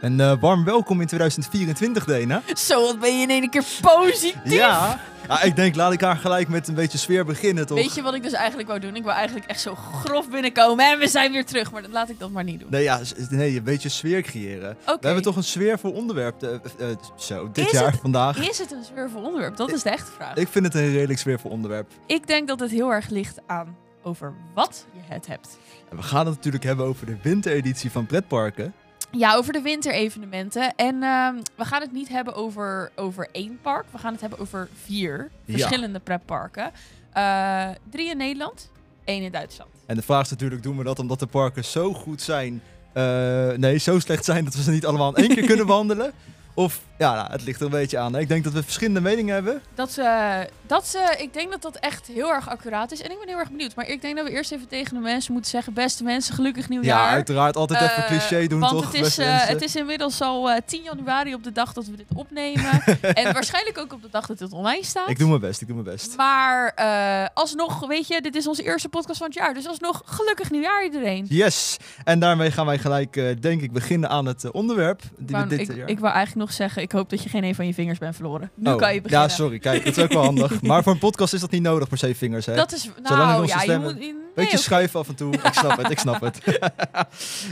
Een eh, warm welkom in 2024, Dena. Zo, wat ben je in één keer positief. Ja. ja. Ik denk, laat ik haar gelijk met een beetje sfeer beginnen, toch? Weet je wat ik dus eigenlijk wou doen? Ik wou eigenlijk echt zo grof binnenkomen en we zijn weer terug. Maar dat laat ik dat maar niet doen. Nee, ja, s- nee, een beetje sfeer creëren. Oké. We hebben toch een sfeervol onderwerp eh, eh, eh, zo, dit Is jaar, het- vandaag. Is het een sfeervol onderwerp? Dat is de echte vraag. Ik, Nou, Ik vind het een redelijk sfeervol onderwerp. denk dat het heel erg ligt aan over wat je het hebt. En we gaan het natuurlijk hebben over de wintereditie van pretparken. Ja, over de winterevenementen. En ehm, we gaan het niet hebben over, over één park. We gaan het hebben over vier Ja. verschillende pretparken. Eh, drie in Nederland, één in Duitsland. En de vraag is natuurlijk, doen we dat omdat de parken zo goed zijn... eh, nee, zo slecht zijn dat we ze niet allemaal in één keer kunnen wandelen? Of, ja, nou, het ligt er een beetje aan. hè. Ik denk dat we verschillende meningen hebben. Dat ze, dat ze, ik denk dat dat echt heel erg accuraat is. En ik ben heel erg benieuwd. Maar ik denk dat we eerst even tegen de mensen moeten zeggen: beste mensen, gelukkig nieuwjaar. Ja, uiteraard altijd even Eh, cliché doen, want toch? het is, beste eh, mensen? het is inmiddels al eh, 10 januari op de dag dat we dit opnemen. en waarschijnlijk ook op de dag dat dit online staat. Ik doe mijn best, ik doe mijn best. maar eh, alsnog, weet je, dit is onze eerste podcast van het jaar. Dus alsnog, gelukkig nieuwjaar iedereen. Yes, en daarmee gaan wij gelijk, eh, denk ik, beginnen aan het eh, onderwerp. Ik Die we wou, dit ik, jaar... ik wou eigenlijk nog zeggen, ik hoop dat je geen een van je vingers bent verloren. Nu Oh, kan je beginnen. Ja, sorry, kijk, dat is ook wel handig. Maar voor een podcast is dat niet nodig per se vingers, hè? Dat is, nou onze ja, je stemmen- moet... nee, Beetje oké. schuiven af en toe. Ik snap het, ik snap het.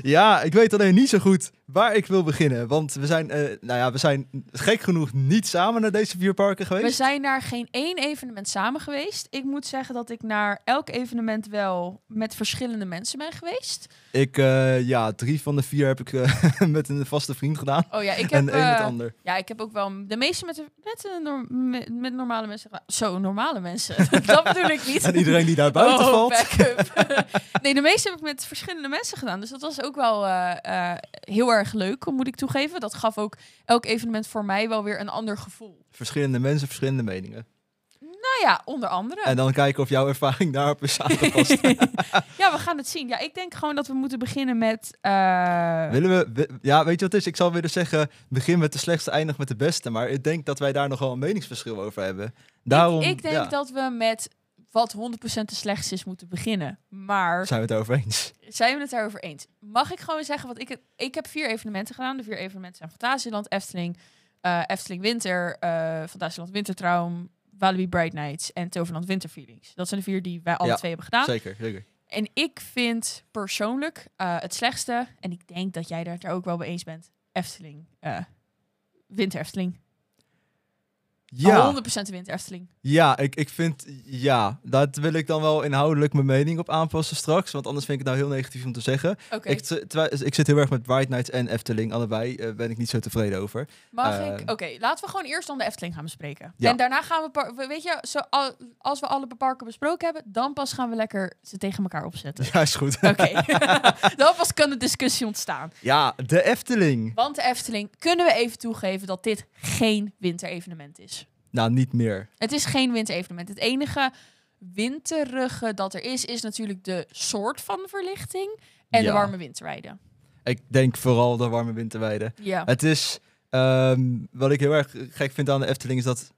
ja, ik weet alleen niet zo goed waar ik wil beginnen. Want we zijn, eh, nou ja, we zijn gek genoeg niet samen naar deze vier parken geweest. We zijn naar geen één evenement samen geweest. Ik moet zeggen dat ik naar elk evenement wel met verschillende mensen ben geweest. Ik, eh, ja, drie van de vier heb ik eh, met een vaste vriend gedaan. Oh ja, en ik heb, de een met de eh, ander. ja, ik heb ook wel de meeste met, de- met, de norm- met, met normale mensen. gedaan. Zo, normale mensen. dat bedoel ik niet. En iedereen die daar buiten Oh, valt. back up. nee, de meeste heb ik met verschillende mensen gedaan. Dus dat was ook wel eh, eh, heel erg leuk, moet ik toegeven. Dat gaf ook elk evenement voor mij wel weer een ander gevoel. Verschillende mensen, verschillende meningen. Nou ja, onder andere. En dan kijken of jouw ervaring daarop is aangepast. ja, we gaan het zien. Ja, ik denk gewoon dat we moeten beginnen met... eh, Willen we, we- ja, weet je wat het is? Ik zal willen zeggen, begin met de slechtste, eindig met de beste. Maar ik denk dat wij daar nogal een meningsverschil over hebben. Daarom ik denk ja, dat we met wat 100% de slechtste is moeten beginnen. Maar zijn we het over eens. zijn we het daarover eens? Mag ik gewoon zeggen, want ik, heb- ik heb vier evenementen gedaan. De vier evenementen zijn Fantasieland, Efteling, eh, Efteling Winter, eh Fantasieland Wintertraum, Walibi Bright Nights en Toverland Winterfeelings. Dat zijn de vier die wij alle Ja, twee hebben gedaan. Zeker, zeker. En ik vind persoonlijk eh, het slechtste, en ik denk dat jij daar ook wel mee eens bent, Efteling. eh Winter Efteling. Ja, 100% Winter Efteling. ja ik, ik vind, ja, daar wil ik dan wel inhoudelijk mijn mening op aanpassen straks. Want anders vind ik het nou heel negatief om te zeggen. Oké, Ik, t- terwijl- dus ik zit heel erg met Bright Nights en Efteling, allebei eh, ben ik niet zo tevreden over. mag eh, ik? Oké, laten we gewoon eerst dan de Efteling gaan bespreken. Ja. En daarna gaan we, par- we- weet je, zo, al- als we alle parken besproken hebben, dan pas gaan we lekker ze tegen elkaar opzetten. Ja, is goed. Oké, dan pas kan de discussie ontstaan. Ja, de Efteling. Want de Efteling, kunnen we even toegeven dat dit geen winterevenement is? Nou, niet meer. Het is geen winterevenement. Het enige winterige dat er is, is natuurlijk de soort van verlichting en Ja. de warme winterrijden. Ik denk vooral de warme winterweiden. Ja. Het is, ehm, wat ik heel erg gek vind aan de Efteling is dat,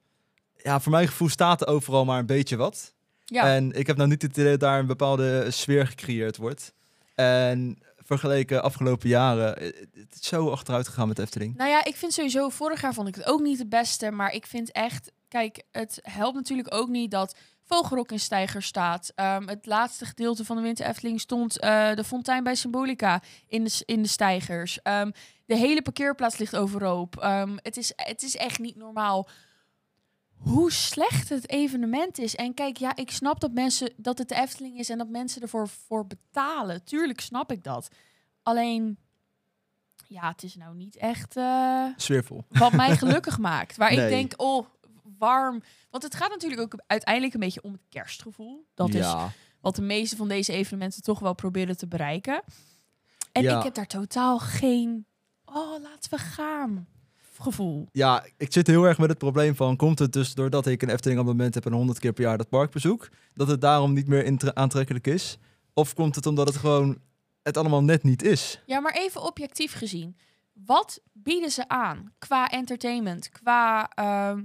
ja, voor mijn gevoel staat er overal maar een beetje wat. ja. En ik heb nou niet het idee dat daar een bepaalde sfeer gecreëerd wordt. En vergeleken afgelopen jaren, eh, het is zo achteruit gegaan met de Efteling. Nou ja, ik vind sowieso, vorig jaar vond ik het ook niet het beste, maar ik vind echt, kijk, het helpt natuurlijk ook niet dat Vogelrok in Steiger staat. Ehm, het laatste gedeelte van de Winter Efteling stond eh, de fontein bij Symbolica in de, s- in de Steigers. Ehm, de hele parkeerplaats ligt overhoop. Ehm, het, is, het is echt niet normaal hoe slecht het evenement is. En kijk, ja, ik snap dat, mensen, dat het de Efteling is en dat mensen ervoor voor betalen. Tuurlijk snap ik dat. Alleen, ja, het is nou niet echt... eh, Sfeervol. wat mij gelukkig maakt. Waar Nee. ik denk, oh, warm. Want het gaat natuurlijk ook uiteindelijk een beetje om het kerstgevoel. Dat is ja. wat de meeste van deze evenementen toch wel proberen te bereiken. En Ja. ik heb daar totaal geen, oh, laten we gaan, gevoel. ja, ik zit heel erg met het probleem van, komt het dus doordat ik een Efteling abonnement heb en 100 keer per jaar dat park bezoek, dat het daarom niet meer intra- aantrekkelijk is? Of komt het omdat het gewoon, het allemaal net niet is? Ja, maar even objectief gezien. Wat bieden ze aan qua entertainment, qua, ehm,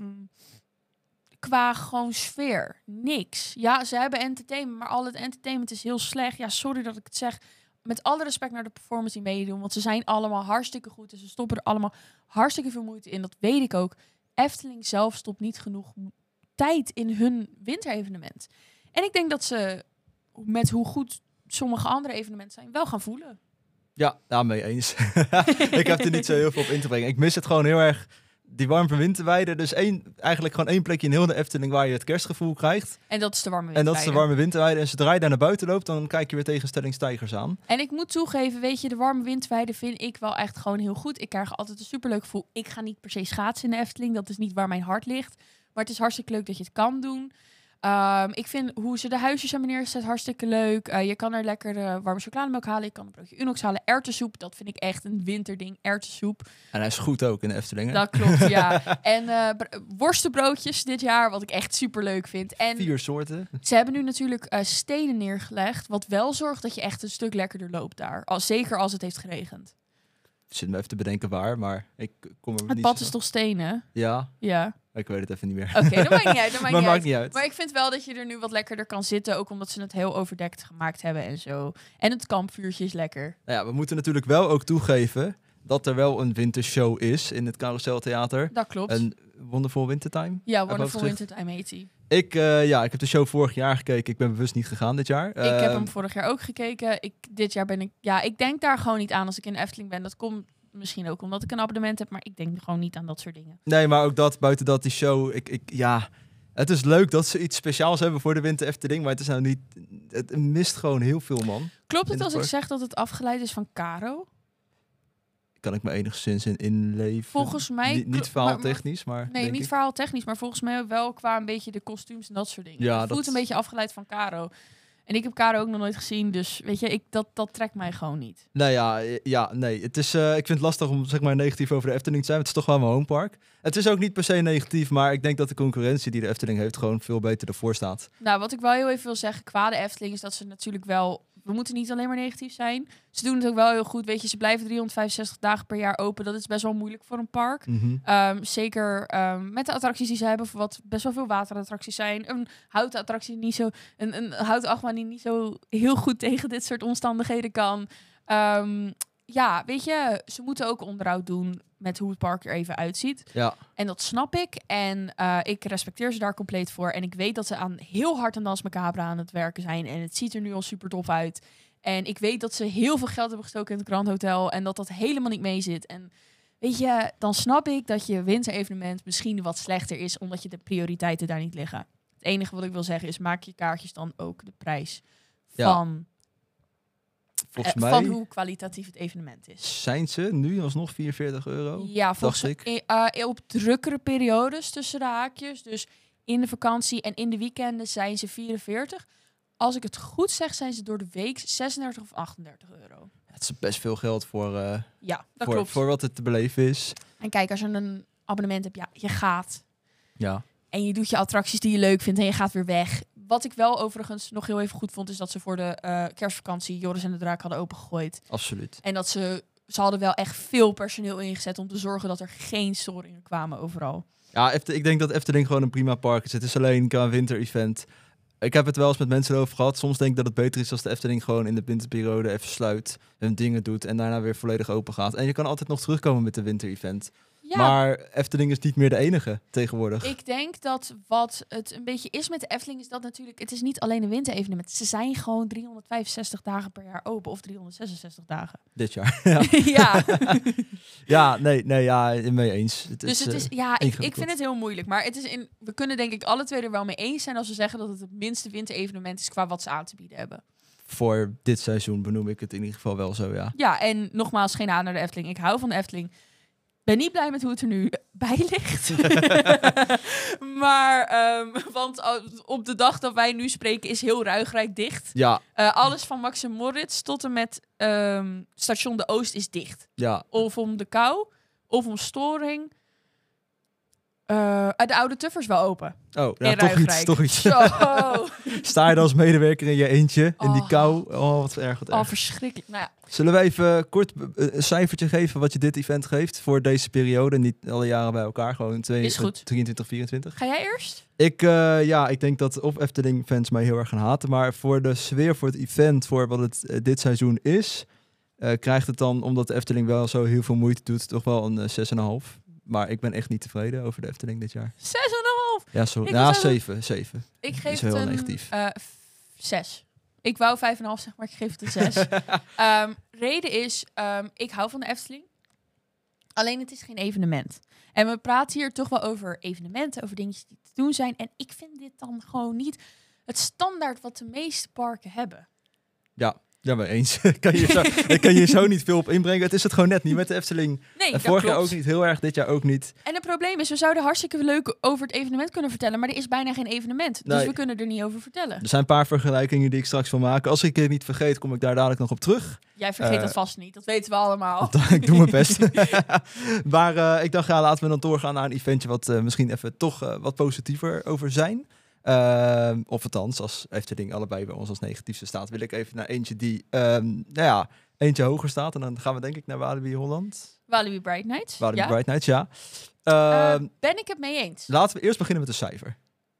qua gewoon sfeer? Niks. Ja, ze hebben entertainment, maar al het entertainment is heel slecht. Ja, sorry dat ik het zeg. met alle respect naar de performers die meedoen. Want ze zijn allemaal hartstikke goed. En ze stoppen er allemaal hartstikke veel moeite in. Dat weet ik ook. Efteling zelf stopt niet genoeg m- tijd in hun winterevenement. En ik denk dat ze met hoe goed sommige andere evenementen zijn, wel gaan voelen. Ja, daarmee eens. ik heb er niet zo heel veel op in te brengen. Ik mis het gewoon heel erg, die warme winterweide. Dus één, eigenlijk gewoon één plekje in heel de Efteling waar je het kerstgevoel krijgt. En dat is de warme En dat is de winterweide. warme winterweide. En zodra je daar naar buiten loopt, dan kijk je weer tegenstelling stijgers aan. En ik moet toegeven, weet je, de warme windweiden vind ik wel echt gewoon heel goed. Ik krijg altijd een superleuk gevoel. Ik ga niet per se schaatsen in de Efteling. Dat is niet waar mijn hart ligt. Maar het is hartstikke leuk dat je het kan doen. Ehm, ik vind hoe ze de huisjes aan neerzetten hartstikke leuk. Eh, je kan er lekker eh, warme chocolademelk halen. Je kan een broodje Unox halen. Erwtensoep, dat vind ik echt een winterding. Erwtensoep, En hij is goed ook in de Efteling. Hè? dat klopt, ja. En eh, br- worstenbroodjes dit jaar, wat ik echt superleuk vind. En Vier soorten. ze hebben nu natuurlijk eh, stenen neergelegd, wat wel zorgt dat je echt een stuk lekkerder loopt daar. Al, zeker als het heeft geregend. Ik zit me even te bedenken waar, maar ik kom er Het niet pad zo- is toch stenen? Ja, Ja. ik weet het even niet meer. Oké, dat Oh, maakt niet uit. Dat maakt maar niet maakt uit. niet uit. Maar ik vind wel dat je er nu wat lekkerder kan zitten, ook omdat ze het heel overdekt gemaakt hebben en zo. En het kampvuurtje is lekker. Nou ja, we moeten natuurlijk wel ook toegeven dat er wel een wintershow is in het Carouseltheater. Dat klopt. Een Wonderful Wintertime. ja, hoofd Wonderful gezegd. Winter Time heet die. Ik, eh, ja, ik heb de show vorig jaar gekeken. Ik ben bewust niet gegaan dit jaar. Ehm, Ik heb hem vorig jaar ook gekeken. Ik, dit jaar ben ik... Ja, ik denk daar gewoon niet aan als ik in de Efteling ben. Dat komt misschien ook omdat ik een abonnement heb, maar ik denk gewoon niet aan dat soort dingen. Nee, maar ook dat, buiten dat, die show. Ik, ik, ja, het is leuk dat ze iets speciaals hebben voor de Winter Efteling. Maar het is nou niet... Het mist gewoon heel veel, man. Klopt In het het als ik park. zeg dat het afgeleid is van Caro? Kan ik me enigszins in inleven. Volgens mij Niet, niet kl- maar- maar- verhaaltechnisch, maar... Nee, denk niet ik. verhaal technisch, maar volgens mij wel qua een beetje de kostuums en dat soort dingen. Ja, het voelt dat- een beetje afgeleid van Caro. En ik heb Caro ook nog nooit gezien, dus weet je, ik, dat, dat trekt mij gewoon niet. Nou ja, eh, ja nee. Het is, eh, ik vind het lastig om zeg maar, negatief over de Efteling te zijn. want Het is toch wel mijn homepark. Het is ook niet per se negatief, maar ik denk dat de concurrentie die de Efteling heeft gewoon veel beter ervoor staat. Nou, wat ik wel heel even wil zeggen qua de Efteling is dat ze natuurlijk wel... We moeten niet alleen maar negatief zijn. Ze doen het ook wel heel goed, weet je. Ze blijven 365 dagen per jaar open. Dat is best wel moeilijk voor een park. Ehm, zeker ehm, met de attracties die ze hebben, voor wat best wel veel waterattracties zijn. Een houten attractie die niet zo, een, een houten achtbaan die niet zo heel goed tegen dit soort omstandigheden kan. Ehm, ja, weet je, ze moeten ook onderhoud doen met hoe het park er even uitziet. Ja. En dat snap ik. En eh, ik respecteer ze daar compleet voor. En ik weet dat ze aan heel hard aan Dans Macabre aan het werken zijn. En het ziet er nu al super tof uit. En ik weet dat ze heel veel geld hebben gestoken in het Grand Hotel. En dat dat helemaal niet mee zit. En weet je, dan snap ik dat je winterevenement misschien wat slechter is. Omdat je de prioriteiten daar niet liggen. Het enige wat ik wil zeggen is, maak je kaartjes dan ook de prijs Ja, van, Volgens eh, mij van hoe kwalitatief het evenement is. zijn ze nu alsnog 44 euro. Ja, volgens Oh, dacht mij eh, eh, op drukkere periodes tussen de haakjes. Dus in de vakantie en in de weekenden zijn ze 44. Als ik het goed zeg, zijn ze door de week 36 of 38 euro. Het is best veel geld voor, eh, Ja, dat voor, klopt. voor wat het te beleven is. En kijk, als je een abonnement hebt, ja, je gaat. Ja. En je doet je attracties die je leuk vindt en je gaat weer weg. Wat ik wel overigens nog heel even goed vond, is dat ze voor de eh, kerstvakantie Joris en de Draak hadden opengegooid. Absoluut. En dat ze, ze hadden wel echt veel personeel ingezet om te zorgen dat er geen storingen kwamen overal. Ja, Efte- ik denk dat Efteling gewoon een prima park is. Het is alleen qua winter-event. Ik heb het wel eens met mensen over gehad. Soms denk ik dat het beter is als de Efteling gewoon in de winterperiode even sluit. Hun dingen doet en daarna weer volledig open gaat. En je kan altijd nog terugkomen met de winter-event. Ja, Maar Efteling is niet meer de enige tegenwoordig. Ik denk dat wat het een beetje is met de Efteling is dat natuurlijk het is niet alleen een winterevenement. Ze zijn gewoon 365 dagen per jaar open of 366 dagen. Dit jaar. ja. ja. ja, nee, nee, ja, mee eens. Het Dus het eh, is ja, ik, ik ingewikkeld. vind het heel moeilijk, maar het is in we kunnen denk ik alle twee er wel mee eens zijn als we zeggen dat het het minste winterevenement is qua wat ze aan te bieden hebben. Voor dit seizoen benoem ik het in ieder geval wel zo, ja. Ja, en nogmaals geen aan naar de Efteling. Ik hou van de Efteling. Ben niet blij met hoe het er nu bij ligt. maar, ehm, want als- op de dag dat wij nu spreken is heel Ruigrijk dicht. Ja, Eh, alles van Max en Moritz tot en met ehm, station De Oost is dicht. ja. Of om de kou, of om storing. Eh, eh, de oude tuffers wel open. Oh, in ja, toch iets. Ruigrijk. Toch iets. Zo. Sta je dan als medewerker in je eentje in die Oh. kou? Oh, wat erg, wat Al erg. verschrikkelijk. Nou ja, Zullen we even kort eh, een cijfertje geven wat je dit event geeft voor deze periode? Niet alle jaren bij elkaar, gewoon twee, Is goed. eh, 23, 24. ga jij eerst? Ik, eh, ja, ik denk dat of Efteling-fans mij heel erg gaan haten, maar voor de sfeer, voor het event, voor wat het eh, dit seizoen is, eh, krijgt het dan, omdat de Efteling wel zo heel veel moeite doet, toch wel een eh, 6,5. Maar ik ben echt niet tevreden over de Efteling dit jaar. Zes en een half. Ja, sorry. Ik Ja, was ook- 7, 7. Ik is geef heel het een negatief. eh, f- zes. Ik wou vijf en een half zeg maar ik geef het een zes. Ehm, reden is, ehm, ik hou van de Efteling. Alleen het is geen evenement. En we praten hier toch wel over evenementen, over dingetjes die te doen zijn. En ik vind dit dan gewoon niet het standaard wat de meeste parken hebben. Ja, maar eens. kan je zo, daar kan je zo niet veel op inbrengen. Het is het gewoon net niet met de Efteling. Nee, En dat vorig jaar klopt. ook niet, heel erg, dit jaar ook niet. En het probleem is, we zouden hartstikke leuk over het evenement kunnen vertellen, maar er is bijna geen evenement. Dus Nee. we kunnen er niet over vertellen. Er zijn een paar vergelijkingen die ik straks wil maken. Als ik het niet vergeet, kom ik daar dadelijk nog op terug. Jij vergeet Eh, dat vast niet, dat weten we allemaal. ik doe mijn best. maar eh, ik dacht, ja, laten we dan doorgaan naar een eventje wat eh, misschien even toch eh, wat positiever over zijn. Ehm, of althans, als Efteling allebei bij ons als negatiefste staat, wil ik even naar eentje die, ehm, nou ja, eentje hoger staat. En dan gaan we denk ik naar Walibi Holland. Walibi Bright Nights. Walibi ja? Bright Nights, ja. Eh, Ehm, ben ik het mee eens? Laten we eerst beginnen met een cijfer.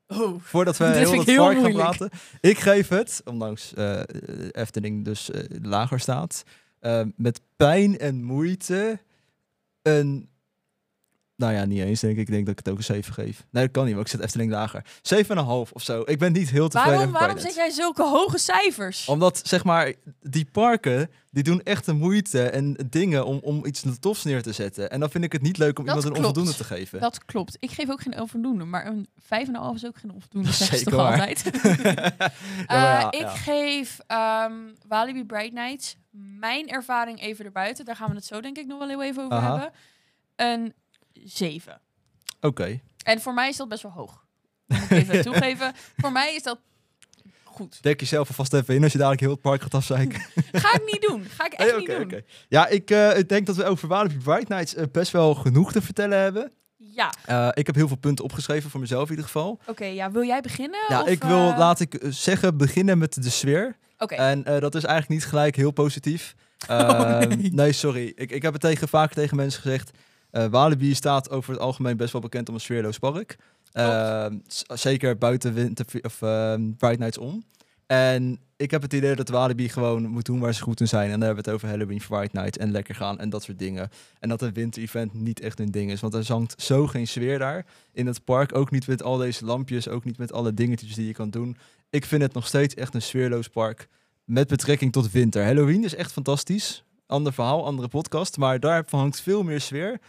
Oh. Voordat we Dit heel vind dat ik heel park gaan moeilijk. praten. Ik geef het, ondanks eh, Efteling dus eh, lager staat, eh, met pijn en moeite een... Nou ja, niet eens denk ik. Ik denk dat ik het ook een 7 geef. Nee, dat kan niet, want ik zet Efteling lager. 7,5 of zo. Ik ben niet heel tevreden Waarom, over waarom Pirates. zeg jij zulke hoge cijfers? Omdat, zeg maar, die parken, die doen echt de moeite en dingen om, om iets tofs neer te zetten. En dan vind ik het niet leuk om Dat iemand een klopt. onvoldoende te geven. Dat klopt. Ik geef ook geen onvoldoende, maar een 5,5 is ook geen onvoldoende, Dat is zeggen ze zeker toch waar. altijd? Eh, ja, ik ja. geef ehm, Walibi Bright Nights, mijn ervaring even erbuiten, daar gaan we het zo denk ik nog wel heel even over Aha. hebben, een 7. Oké. En voor mij is dat best wel hoog. Moet ik even toegeven. Voor mij is dat goed. Dek jezelf alvast even in als je dadelijk heel het park gaat afzeiken. Ga ik niet doen. Ga ik echt Nee, niet oké, doen. oké. Ja, ik, eh, ik denk dat we over Walibi Bright Nights eh, best wel genoeg te vertellen hebben. Ja, Eh, ik heb heel veel punten opgeschreven voor mezelf in ieder geval. oké. ja, wil jij beginnen? Ja, Oh, Of, ik wil, eh, laat ik eh, zeggen, beginnen met de sfeer. Oké. En eh, dat is eigenlijk niet gelijk heel positief. Oh, Ehm, nee. sorry. Ik, ik heb het tegen, vaak tegen mensen gezegd. eh, Walibi staat over het algemeen best wel bekend om een sfeerloos park. Ehm, z- zeker buiten winter of ehm, Bright Nights om. En ik heb het idee dat Walibi gewoon moet doen waar ze goed in zijn. En dan hebben we het over Halloween, Fright Night en lekker gaan en dat soort dingen. En dat een winter-event niet echt een ding is. Want er zangt zo geen sfeer daar in het park. Ook niet met al deze lampjes, ook niet met alle dingetjes die je kan doen. Ik vind het nog steeds echt een sfeerloos park met betrekking tot winter. Halloween is echt fantastisch. Ander verhaal, andere podcast. Maar daarvan hangt veel meer sfeer.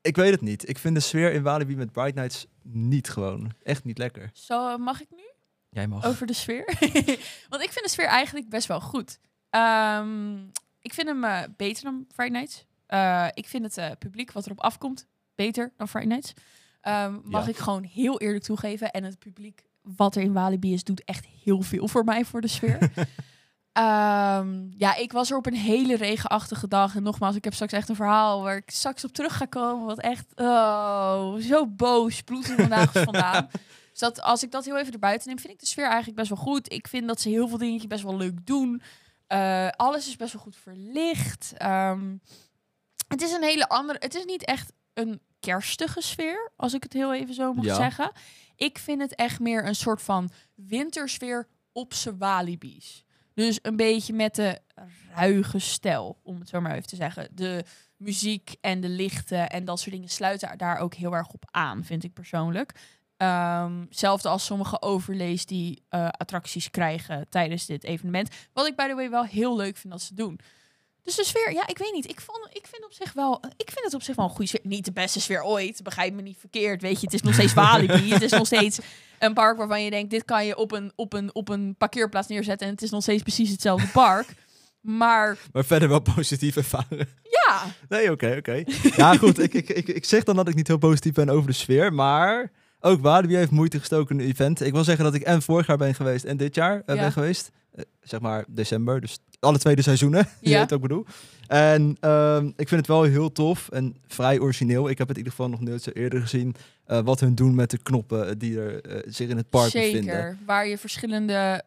Ik weet het niet. Ik vind de sfeer in Walibi met Bright Nights niet gewoon. Echt niet lekker. Zo, eh, mag ik nu? Jij mag. Over de sfeer. Want ik vind de sfeer eigenlijk best wel goed. Ehm, ik vind hem eh, beter dan Friday Nights. Eh, ik vind het eh, publiek wat erop afkomt beter dan Friday Nights. Ehm, mag Ja. ik gewoon heel eerlijk toegeven. En het publiek wat er in Walibi is, doet echt heel veel voor mij, voor de sfeer. Ehm, ja, ik was er op een hele regenachtige dag. En nogmaals, ik heb straks echt een verhaal waar ik straks op terug ga komen. Wat echt, oh, zo boos bloed er vandaag is vandaan. Dus dat, als ik dat heel even erbuiten neem, vind ik de sfeer eigenlijk best wel goed. Ik vind dat ze heel veel dingetjes best wel leuk doen. Eh, alles is best wel goed verlicht. Ehm, het is een hele andere... Het is niet echt een kerstige sfeer, als ik het heel even zo mag Ja. zeggen. Ik vind het echt meer een soort van wintersfeer op z'n Walibi's. Dus een beetje met de ruige stijl, om het zo maar even te zeggen. De muziek en de lichten en dat soort dingen sluiten daar ook heel erg op aan, vind ik persoonlijk. Ehm, zelfde als sommige overlays die eh, attracties krijgen tijdens dit evenement. Wat ik, by the way, wel heel leuk vind dat ze doen. Dus de sfeer, ja, ik weet niet. Ik, vond, ik, vind op zich wel, ik vind het op zich wel een goede sfeer. Niet de beste sfeer ooit, begrijp me niet verkeerd. Weet je, het is nog steeds Walibi. het is nog steeds een park waarvan je denkt... dit kan je op een, op, een, op een parkeerplaats neerzetten... en het is nog steeds precies hetzelfde park. Maar Maar verder wel positief ervaren. ja, Nee, oké, oké. Ja, goed. Ik, ik, ik, ik zeg dan dat ik niet heel positief ben over de sfeer. Maar ook Walibi heeft moeite gestoken in een event. Ik wil zeggen dat ik en vorig jaar ben geweest en dit jaar eh, Ja. ben geweest. Eh, zeg maar december. Dus alle tweede seizoenen. Je Ja. weet wat ik bedoel. En ehm, ik vind het wel heel tof en vrij origineel. Ik heb het in ieder geval nog nooit zo eerder gezien. Eh, eh, wat hun doen met de knoppen die er, eh, zich in het park bevinden. Zeker, waar je verschillende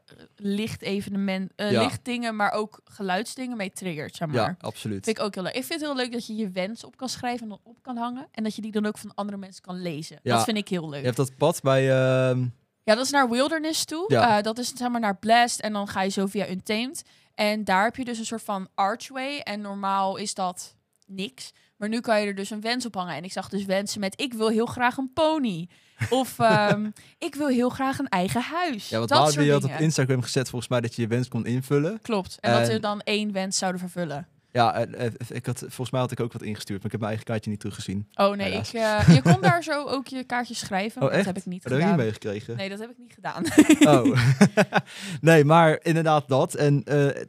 lichtevenementen, eh Ja. lichtdingen, maar ook geluidsdingen mee triggert, zeg maar. Ja, absoluut. Vind ik ook heel leuk. Ik vind het heel leuk dat je je wens op kan schrijven en dan op kan hangen. En dat je die dan ook van andere mensen kan lezen. Ja. Dat vind ik heel leuk. Je hebt dat pad bij... ehm, Ja, dat is naar Wilderness toe. Ja. Eh, dat is zeg maar naar Blast en dan ga je zo via Untamed. En daar heb je dus een soort van archway. En normaal is dat niks. Maar nu kan je er dus een wens op hangen. En ik zag dus wensen met ik wil heel graag een pony. Of ehm, ik wil heel graag een eigen huis. ja, want dat soort Walibi had op dingen. Instagram gezet volgens mij dat je je wens kon invullen. Klopt. En dat En- we dan één wens zouden vervullen. Ja, eh, eh, ik had, volgens mij had ik ook wat ingestuurd, maar ik heb mijn eigen kaartje niet teruggezien. Oh nee, Helaas. ik, eh, je kon daar zo ook je kaartjes Oh, schrijven. maar dat echt? heb ik niet Dat heb ik niet gedaan. meegekregen. Nee, dat heb ik niet gedaan. Oh. nee, maar inderdaad dat. En eh, eh,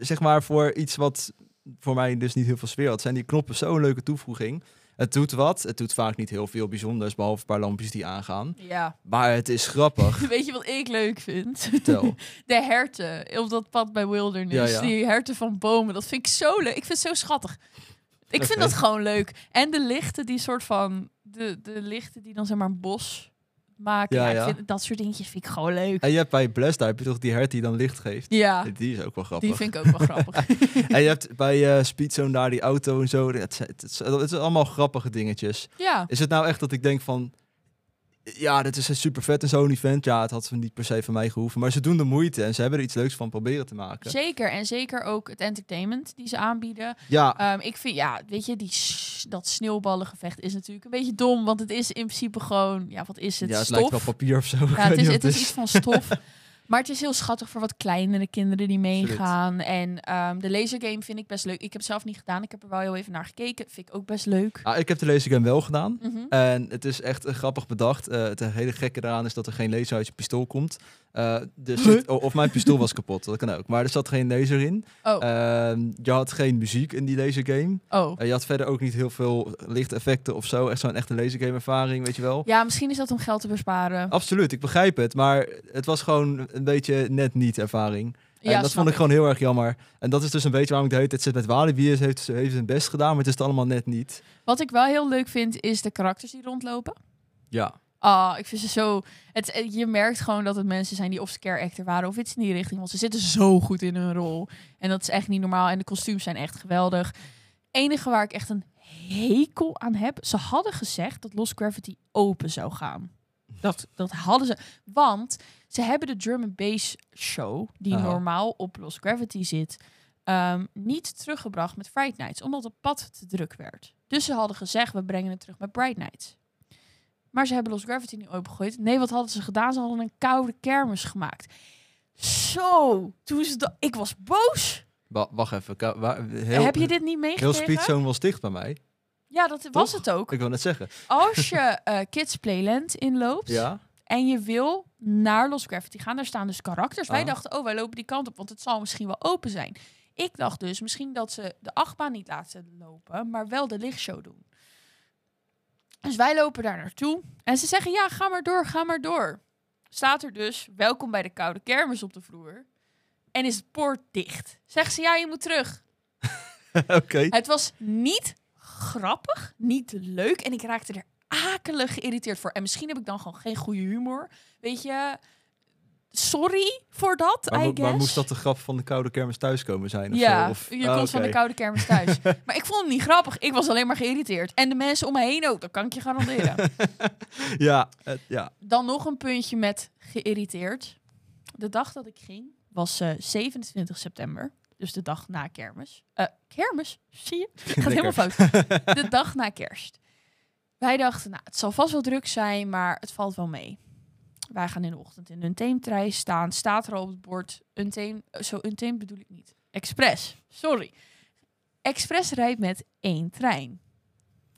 zeg maar voor iets wat voor mij dus niet heel veel sfeer had, zijn die knoppen zo'n leuke toevoeging. Het doet wat. Het doet vaak niet heel veel bijzonders, behalve een paar lampjes die aangaan. ja. Maar het is grappig. Weet je wat ik leuk vind? Vertel. de herten op dat pad bij Wilderness. Ja, ja. Die herten van bomen. Dat vind ik zo leuk. Ik vind het zo schattig. Ik vind Oké. dat gewoon leuk. En de lichten die soort van... De, de lichten die dan zeg maar een bos maken. Ja, Ja, ik ja. Eh, vind- dat soort dingetjes vind ik gewoon leuk. En je hebt bij Blast, daar heb je toch die hert die dan licht geeft? Ja, Die is ook wel grappig. die vind ik ook wel grappig. En je hebt bij eh Speedzone daar die auto en zo. Het, zijn- het, is- het zijn allemaal grappige dingetjes. Ja, Is het nou echt dat ik denk van... Ja, dit is super vet en zo'n event. Ja, het had ze niet per se van mij gehoeven. Maar ze doen de moeite en ze hebben er iets leuks van proberen te maken. zeker. En zeker ook het entertainment die ze aanbieden. Ja, Ehm, ik vind, ja, weet je, die, s- dat sneeuwballengevecht is natuurlijk een beetje dom. Want het is in principe gewoon, ja, wat is het? ja het Stof? lijkt wel papier of zo. Ik weet Ja, het is, niet het wat is iets van stof. Maar het is heel schattig voor wat kleinere kinderen die Absoluut. meegaan. En ehm, de lasergame vind ik best leuk. Ik heb het zelf niet gedaan. Ik heb er wel heel even naar gekeken. Vind ik ook best leuk. Ah, ik heb de lasergun wel gedaan. Mhm. En het is echt eh, grappig bedacht. Eh, het hele gekke daaraan is dat er geen laser uit je pistool komt. Eh, dus Huh? het- o- of mijn pistool was kapot, dat kan ook. Maar er zat geen laser in. Oh, Ehm, je had geen muziek in die lasergame. oh. Eh, je had verder ook niet heel veel lichteffecten of zo. Echt zo'n echte lasergame ervaring, weet je wel. Ja, misschien is dat om geld te besparen. Absoluut, ik begrijp het. Maar het was gewoon een beetje net niet ervaring. ja, en dat snap vond ik gewoon heel erg jammer. En dat is dus een beetje waarom ik de hele tijd zit met Walibi. Ze heeft, ze heeft hun best gedaan, maar het is het allemaal net niet. Wat ik wel heel leuk vind, is de karakters die rondlopen. Ja. Ah, ik vind ze zo... Het, eh, je merkt gewoon dat het mensen zijn die of scare actor waren of iets in die richting. Want ze zitten zo goed in hun rol. En dat is echt niet normaal. En de kostuums zijn echt geweldig. enige waar ik echt een hekel aan heb... Ze hadden gezegd dat Lost Gravity open zou gaan. Dat, dat hadden ze. Want ze hebben de drum and bass show... die Aha. normaal op Lost Gravity zit... ehm, niet teruggebracht met Fright Nights. Omdat het pad te druk werd. Dus ze hadden gezegd, we brengen het terug met Bright Nights. Maar ze hebben Lost Gravity niet opengegooid. Nee, wat hadden ze gedaan? Ze hadden een koude kermis gemaakt. Zo, toen ze dat... Ik was boos. Wa- wacht even. ka- waar- heel, Heb je dit niet heel meegekregen? Speedzone was dicht bij mij. Ja, dat was het ook. Ik wil net zeggen. Als je eh, Kids Playland inloopt Ja. en je wil naar Lost Gravity gaan, daar staan dus karakters. Wij Ah. dachten, oh, wij lopen die kant op, want het zal misschien wel open zijn. Ik dacht dus misschien dat ze de achtbaan niet laten lopen, maar wel de lichtshow doen. Dus wij lopen daar naartoe en ze zeggen, ja, ga maar door, ga maar door. Staat er dus, welkom bij de koude kermis op de vloer. En is het poort dicht. Zeggen ze, ja, je moet terug. Oké. Het was niet grappig, niet leuk en ik raakte er akelig geïrriteerd voor. En misschien heb ik dan gewoon geen goede humor. Weet je, sorry voor dat, Maar, I mo- guess. maar moest dat de grap van de koude kermis thuiskomen zijn? Of ja, zo? Of, je Ah, komt van de oké. koude kermis thuis. maar ik vond hem niet grappig. Ik was alleen maar geïrritererd. En de mensen om me heen ook, dat kan ik je garanderen. Ja, eh, ja. dan nog een puntje met geïrriteerd. De dag dat ik ging was eh, 27 september. Dus de dag na kermis. Eh, kermis, zie je? Gaat helemaal fout. De dag na kerst. Wij dachten, nou, het zal vast wel druk zijn, maar het valt wel mee. Wij gaan in de ochtend in een teemtrei staan. Staat er al op het bord een teem. Zo een teem bedoel ik niet. Express. Sorry. Express rijdt met één trein.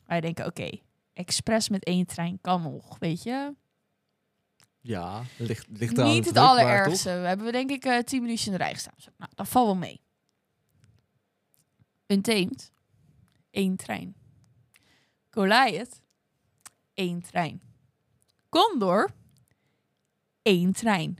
Wij denken, oké, Express met één trein kan nog, weet je? Ja, ligt, ligt eraan Niet druk, het maar toch? allerergste. We hebben denk ik eh, 10 minuutjes in de rij gestaan. Zo, nou, dat valt wel mee. Een teemt. Eén trein. Goliath. Eén trein. Condor. Eén trein.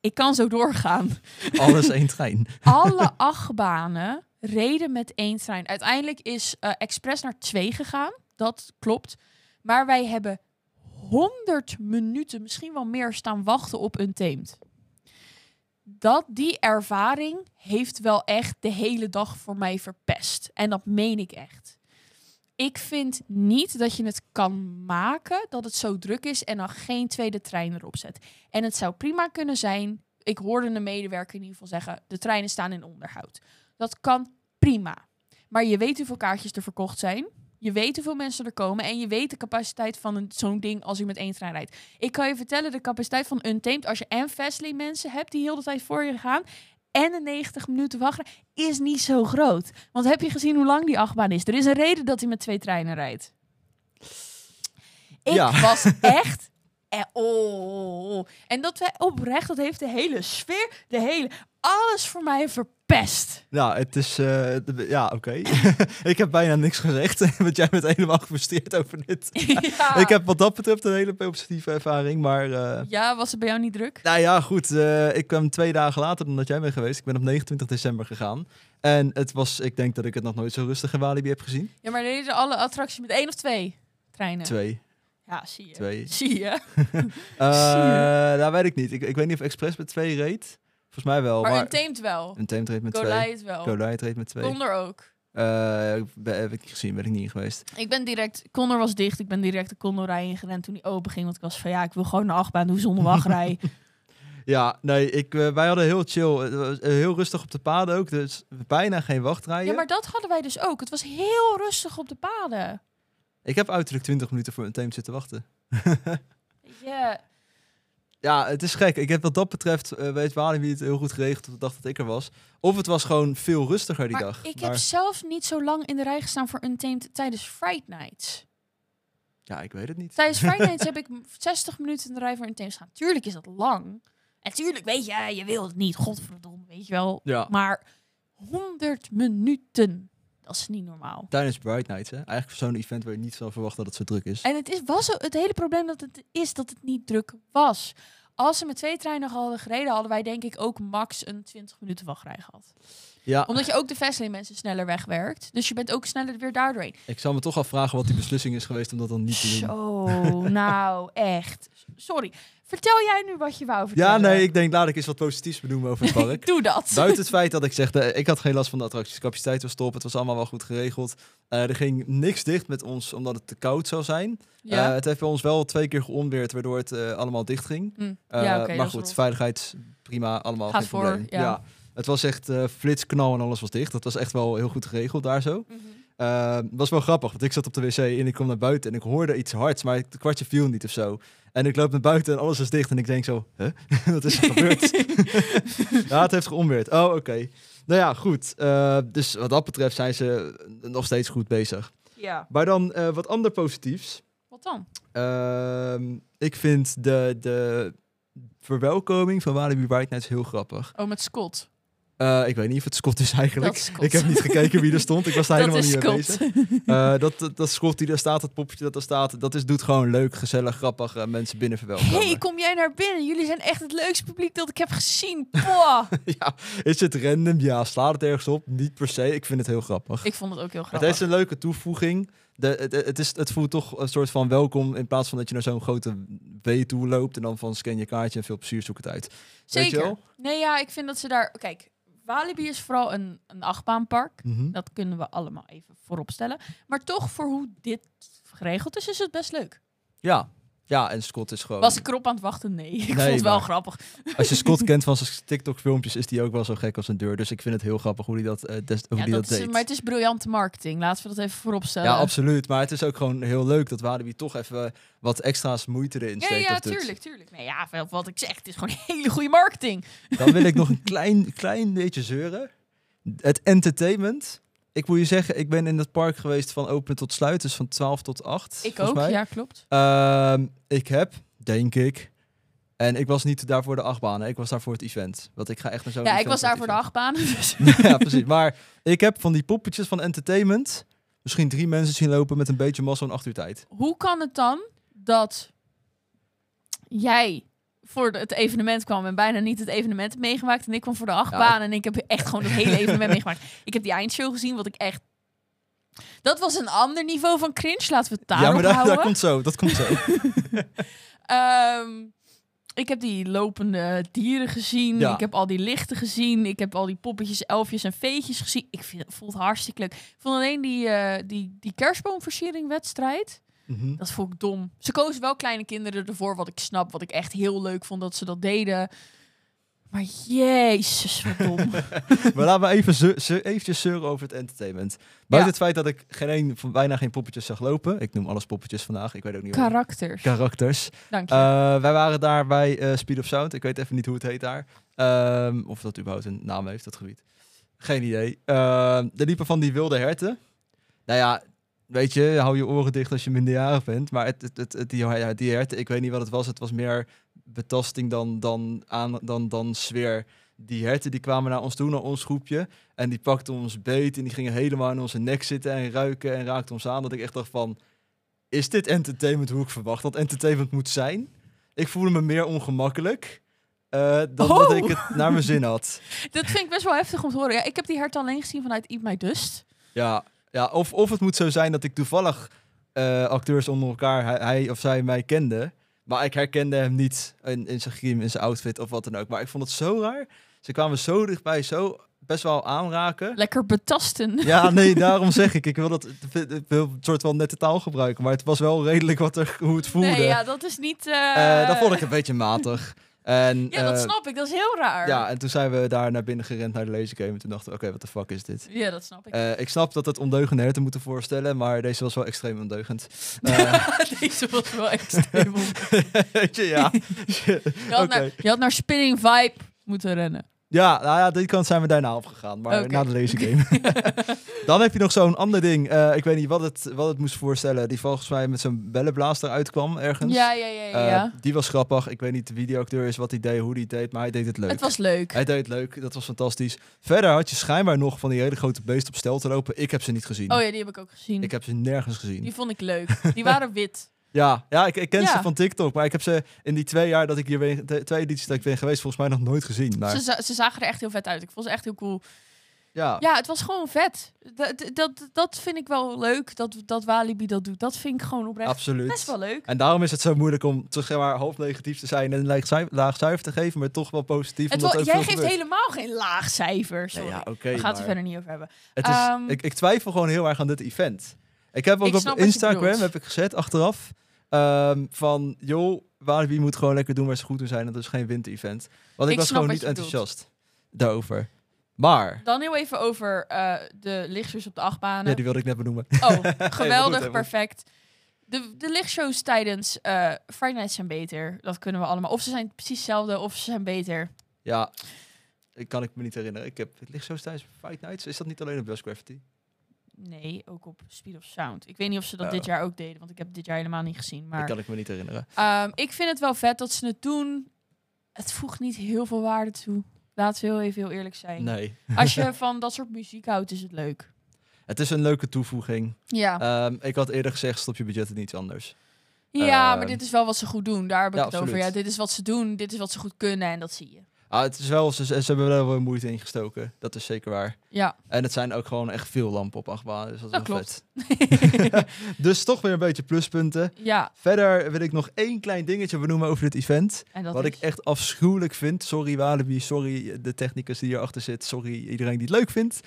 Ik kan zo doorgaan. Alles één trein. Alle achtbanen reden met één trein. Uiteindelijk is eh Express naar twee gegaan. Dat klopt. Maar wij hebben 100 minuten, misschien wel meer, staan wachten op een teemt. Dat, die ervaring heeft wel echt de hele dag voor mij verpest. En dat meen ik echt. Ik vind niet dat je het kan maken dat het zo druk is en dan geen tweede trein erop zet. En het zou prima kunnen zijn, ik hoorde een medewerker in ieder geval zeggen, de treinen staan in onderhoud. Dat kan prima. Maar je weet hoeveel kaartjes er verkocht zijn. Je weet hoeveel mensen er komen en je weet de capaciteit van een- zo'n ding als u met één trein rijdt. Ik kan je vertellen, de capaciteit van Untamed, als je en Fastly mensen hebt die heel de tijd voor je gaan en de 90 minuten wachten, is niet zo groot. Want heb je gezien hoe lang die achtbaan is? Er is een reden dat hij met twee treinen rijdt. Ik Ja. was echt... eh, oh, oh, oh. En dat wij oprecht, dat heeft de hele sfeer, de hele, alles voor mij verpest. Nou, het is... eh, de- ja, oké. ik heb bijna niks gezegd, want jij bent helemaal gefrustreerd over dit. ja. Ik heb wat dat betreft een hele positieve ervaring, maar... eh, ja, was het bij jou niet druk? Nou ja, goed. eh, ik kwam twee dagen later dan dat jij bent geweest. Ik ben op 29 december gegaan. En het was, ik denk dat ik het nog nooit zo rustig in Walibi heb gezien. Ja, maar deden alle attracties met één of twee treinen? Twee. Ja, zie je. Twee. Zie je. Eh Zie dat weet ik niet. Ik, ik weet niet of Express met twee reed. Volgens mij wel. maar Oh, Maar, een teemt wel. een Teemt reed met Go twee. Light wel. Goliath reed met twee. Condor ook. Eh, ik ben- heb ik niet gezien, ben ik niet in geweest. Ik ben direct... Condor was dicht. Ik ben direct de Condorrij ingerend toen die open ging. Want ik was van, ja, ik wil gewoon een achtbaan doen zonder wachtrij. Ja, nee, ik, eh, wij hadden heel chill. Het was, eh, heel rustig op de paden ook. Dus bijna geen wachtrijen. ja, maar dat hadden wij dus ook. Het was heel rustig op de paden. Ik heb uiterlijk 20 minuten voor een Teemt zitten wachten. Ja. Ja, het is gek. Ik heb wat dat betreft, eh weet Walibi het heel goed geregeld op de dag dat ik er was. Of het was gewoon veel rustiger die Maar dag. ik heb Maar- zelf niet zo lang in de rij gestaan voor Untamed tijdens Fright Nights. Ja, ik weet het niet. Tijdens Friday Nights heb ik m- 60 minuten in de rij voor een team staan. Tuurlijk is dat lang. En tuurlijk, weet je, je wil het niet. Godverdomme, weet je wel. Ja. Maar 100 minuten, dat is niet normaal. Tijdens Bright Nights, hè. Eigenlijk zo'n event waar je niet van verwacht dat het zo druk is. En het, is, was, ook- het hele probleem dat het is dat het niet druk was. Als ze met twee treinen hadden gereden, hadden wij denk ik ook max een 20 minuten wachtrij gehad. Ja, Omdat je ook de Vestlane mensen sneller wegwerkt. Dus je bent ook sneller weer daar doorheen. ik zal me toch afvragen wat die beslissing is geweest om dat dan niet te doen. Zo, nou echt. Sorry. Vertel jij nu wat je wou vertellen. Ja, nee, ik denk laat ik eens wat positiefs benoemen over het park. Doe dat. Buiten het feit dat ik zeg, eh, ik had geen last van de attracties. De capaciteit was top, het was allemaal wel goed geregeld. Eh, er ging niks dicht met ons omdat het te koud zou zijn. Eh, het heeft bij ons wel twee keer geonweerd, waardoor het eh, allemaal dicht ging. Mm. Eh, ja, oké, maar dat is goed, rot. veiligheid, prima, allemaal Gaat geen voor, probleem. ja. Het was echt eh flits, knal en alles was dicht. Dat was echt wel heel goed geregeld daar zo. Mhm. Eh, Het was wel grappig, want ik zat op de wc en ik kwam naar buiten en ik hoorde iets hards, maar het kwartje viel niet of zo. En ik loop naar buiten en alles is dicht en ik denk zo, huh? wat is er gebeurd? ja, het heeft geonweerd. Oh, oké. Nou ja, goed. Eh, dus wat dat betreft zijn ze nog steeds goed bezig. Ja. Maar dan eh, wat ander positiefs. Wat dan? Ehm, ik vind de, de verwelkoming van Walibi White Nights heel grappig. Oh, met Scott. Eh, ik weet niet of het Scott is eigenlijk. Dat is Scott. Ik heb niet gekeken wie er stond. Ik was daar Dat helemaal is niet mee Scott. bezig. Eh, dat, dat, dat Scott die daar staat, dat poppetje dat daar staat, dat is, doet gewoon leuk, gezellig, grappig eh, mensen binnen verwelkomen. hey, kom jij naar binnen? Jullie zijn echt het leukste publiek dat ik heb gezien. Boah. ja, is het random? Ja, slaat het ergens op? Niet per se. Ik vind het heel grappig. ik vond het ook heel Het grappig. heeft een leuke toevoeging. De, het, het, is, het voelt toch een soort van welkom in plaats van dat je naar zo'n grote W toe loopt en dan van scan je kaartje en veel plezier zoek het uit. je Zeker. wel? Nee, ja, ik vind dat ze daar... Kijk, Walibi is vooral een, een achtbaanpark. Dat kunnen we allemaal even vooropstellen. Maar toch, voor hoe dit geregeld is, is het best leuk. Ja. Ja, en Scott is gewoon... Was ik erop aan het wachten? Nee. Ik vond het wel Oh. maar- grappig. Als je Scott kent van zijn TikTok-filmpjes, is die ook wel zo gek als een deur. Dus ik vind het heel grappig hoe die dat, eh, des- hoe Ja, die dat dat, is, deed. maar het is briljante marketing. Laten we dat even vooropstellen. Ja, absoluut. Maar het is ook gewoon heel leuk dat Walibi toch even wat extra's moeite erin Ja, steekt. ja, of doet. tuurlijk, tuurlijk. Nee, ja, wel, wat ik zeg, het is gewoon hele goede marketing. Dan wil ik nog een klein, klein beetje zeuren. Het entertainment. Ik moet je zeggen, ik ben in dat park geweest van open tot sluit. Dus van 12 tot 8. Ik ook, volgens mij. ja, klopt. Ehm, ik heb, denk ik... En ik was niet daarvoor de achtbanen. Ik was daar voor het event. Want ik ga echt naar zo'n Ja, ik event was met daar voor de event. achtbaan. Dus. ja, precies. Maar ik heb van die poppetjes van entertainment misschien drie mensen zien lopen met een beetje massa en acht uur tijd. Hoe kan het dan dat jij voor de- het evenement kwam en bijna niet het evenement hebt meegemaakt en ik kwam voor de achtbaan en ik heb echt gewoon het hele evenement meegemaakt. Ik heb die eindshow gezien, wat ik echt Dat was een ander niveau van cringe. Laten we het daarop ja, maar daar, houden. daar komt zo. Dat komt zo. Ehm, ik heb die lopende dieren gezien. Ja. Ik heb al die lichten gezien. Ik heb al die poppetjes, elfjes en veetjes gezien. Ik vind, vond het hartstikke leuk. Ik vond alleen die, eh, die, die kerstboomversieringwedstrijd. Mhm. Dat vond ik dom. Ze kozen wel kleine kinderen ervoor, wat ik snap. Wat ik echt heel leuk vond dat ze dat deden. Maar jezus, wat dom. Maar laten we even zeu- zeu- eventjes zeuren over het entertainment. Buiten Ja. het feit dat ik geen, een- van- bijna geen poppetjes zag lopen. Ik noem alles poppetjes vandaag. Ik weet ook niet waarom. Karakters. Karakters. Dank je. Eh, wij waren daar bij eh, Speed of Sound. Ik weet even niet hoe het heet daar. Ehm, of dat überhaupt een naam heeft, dat gebied. Geen idee. Ehm er liepen van die wilde herten. Nou ja, weet je, hou je oren dicht als je minderjarig bent. Maar het, het, het, het- die, ja, die herten, ik weet niet wat het was. Het was meer betasting dan, dan, aan, dan, dan sfeer. Die herten die kwamen naar ons toe, naar ons groepje. En die pakten ons beet en die gingen helemaal in onze nek zitten en ruiken en raakten ons aan. Dat ik echt dacht van, is dit entertainment hoe ik verwacht dat entertainment moet zijn? Ik voelde me meer ongemakkelijk eh, dan dat Oh. ik het naar mijn zin had. Dat vind ik best wel heftig om te horen. Ja, ik heb die hert alleen gezien vanuit Eat My Dust. Ja, ja of, of het moet zo zijn dat ik toevallig eh, acteurs onder elkaar, hij, hij of zij mij kende. Maar ik herkende hem niet in, in zijn griem, in zijn outfit of wat dan ook. Maar ik vond het zo raar. Ze kwamen zo dichtbij, zo best wel aanraken. Lekker betasten. Ja, nee, daarom zeg ik. Ik wil dat ik wil een soort van nette taal gebruiken. Maar het was wel redelijk wat er, hoe het voelde. Nee, ja, dat is niet... eh, Eh, dat vond ik een beetje matig. En, Ja, dat eh, snap ik. Dat is heel raar. Ja, en toen zijn we daar naar binnen gerend naar de laser game. En toen dachten we, oké, wat de fuck is dit? Ja, dat snap ik. Eh, ik snap dat het ondeugende herten moeten voorstellen, maar deze was wel extreem ondeugend. Eh, Deze was wel extreem. on- weet je, ja. Je had, naar, Oké. je had naar Spinning Vibe moeten rennen. ja, nou ja, die kant zijn we daarna opgegaan, maar Oké. na de laser game. Dan heb je nog zo'n ander ding. Eh, ik weet niet wat het, wat het moest voorstellen. Die volgens mij met zo'n bellenblaas eruit kwam ergens. Ja, ja, ja, ja. Eh, ja. Die was grappig. Ik weet niet wie die acteur is, wat hij deed, hoe die het deed, maar hij deed het leuk. Het was leuk. Hij deed het leuk, dat was fantastisch. Verder had je schijnbaar nog van die hele grote beesten op stel te lopen. Ik heb ze niet gezien. Oh ja, die heb ik ook gezien. Ik heb ze nergens gezien. Die vond ik leuk. Die waren wit. Ja, ja ik, ik ken Ja. ze van TikTok, maar ik heb ze in die twee jaar dat ik hier ben, de twee edities dat ik ben geweest, volgens mij nog nooit gezien. Maar Ze, za- ze zagen er echt heel vet uit. Ik vond ze echt heel cool. ja, Ja, het was gewoon vet. Dat, dat, dat vind ik wel leuk, dat, dat Walibi dat doet. Dat vind ik gewoon oprecht absoluut. best wel leuk. En daarom is het zo moeilijk om toch zeg maar half negatief te zijn en een laag, cijfer, laag cijfer te geven, maar toch wel positief. Het omdat wa- er ook jij veel geeft gebeurt. helemaal geen laag cijfer. Sorry. Nee, ja, oké. We gaan het er maar verder niet over hebben. het is, Ehm, ik, ik twijfel gewoon heel erg aan dit event. Ik heb ook Ik snap op wat je Instagram bedoelt. heb ik gezet achteraf ehm, van joh, Walibi moet gewoon lekker doen waar ze goed in zijn. Dat is geen winter-event. Want ik, Ik was snap gewoon wat niet je bedoelt. enthousiast daarover. Maar Dan heel even over eh, de lichtshows op de achtbanen. ja, die wilde ik net benoemen. Oh, Helemaal goed, geweldig, helemaal. perfect. De, de lichtshows tijdens eh Friday Night zijn beter. Dat kunnen we allemaal. Of ze zijn precies hetzelfde, of ze zijn beter. Ja, ik kan ik me niet herinneren. Ik heb, het ligt zo thuis bij Fight Nights. Is dat niet alleen op Best Gravity? Nee, ook op Speed of Sound. Ik weet niet of ze dat Oh. dit jaar ook deden, want ik heb dit jaar helemaal niet gezien. Maar Dat kan ik me niet herinneren. ehm, ik vind het wel vet dat ze het doen. Het voegt niet heel veel waarde toe. Laten we heel even heel eerlijk zijn. Nee. Als je van dat soort muziek houdt, is het leuk. Het is een leuke toevoeging. Ja, Ehm, ik had eerder gezegd, stop je budget in iets anders. ja maar ehm, dit is wel wat ze goed doen. Daar heb ik ja, het over. absoluut. Ja, dit is wat ze doen, dit is wat ze goed kunnen en dat zie je. Ah, het is wel, ze, ze hebben er wel weer moeite in gestoken. Dat is zeker waar. Ja. En het zijn ook gewoon echt veel lampen op achtbanen. Dus dat, Dat is wel vet. dus toch weer een beetje pluspunten. Ja, Verder wil ik nog één klein dingetje benoemen over dit event. en dat Wat is... ik ehm, echt afschuwelijk vind. Sorry Walibi, sorry de technicus die hierachter zit. Sorry iedereen die het leuk vindt.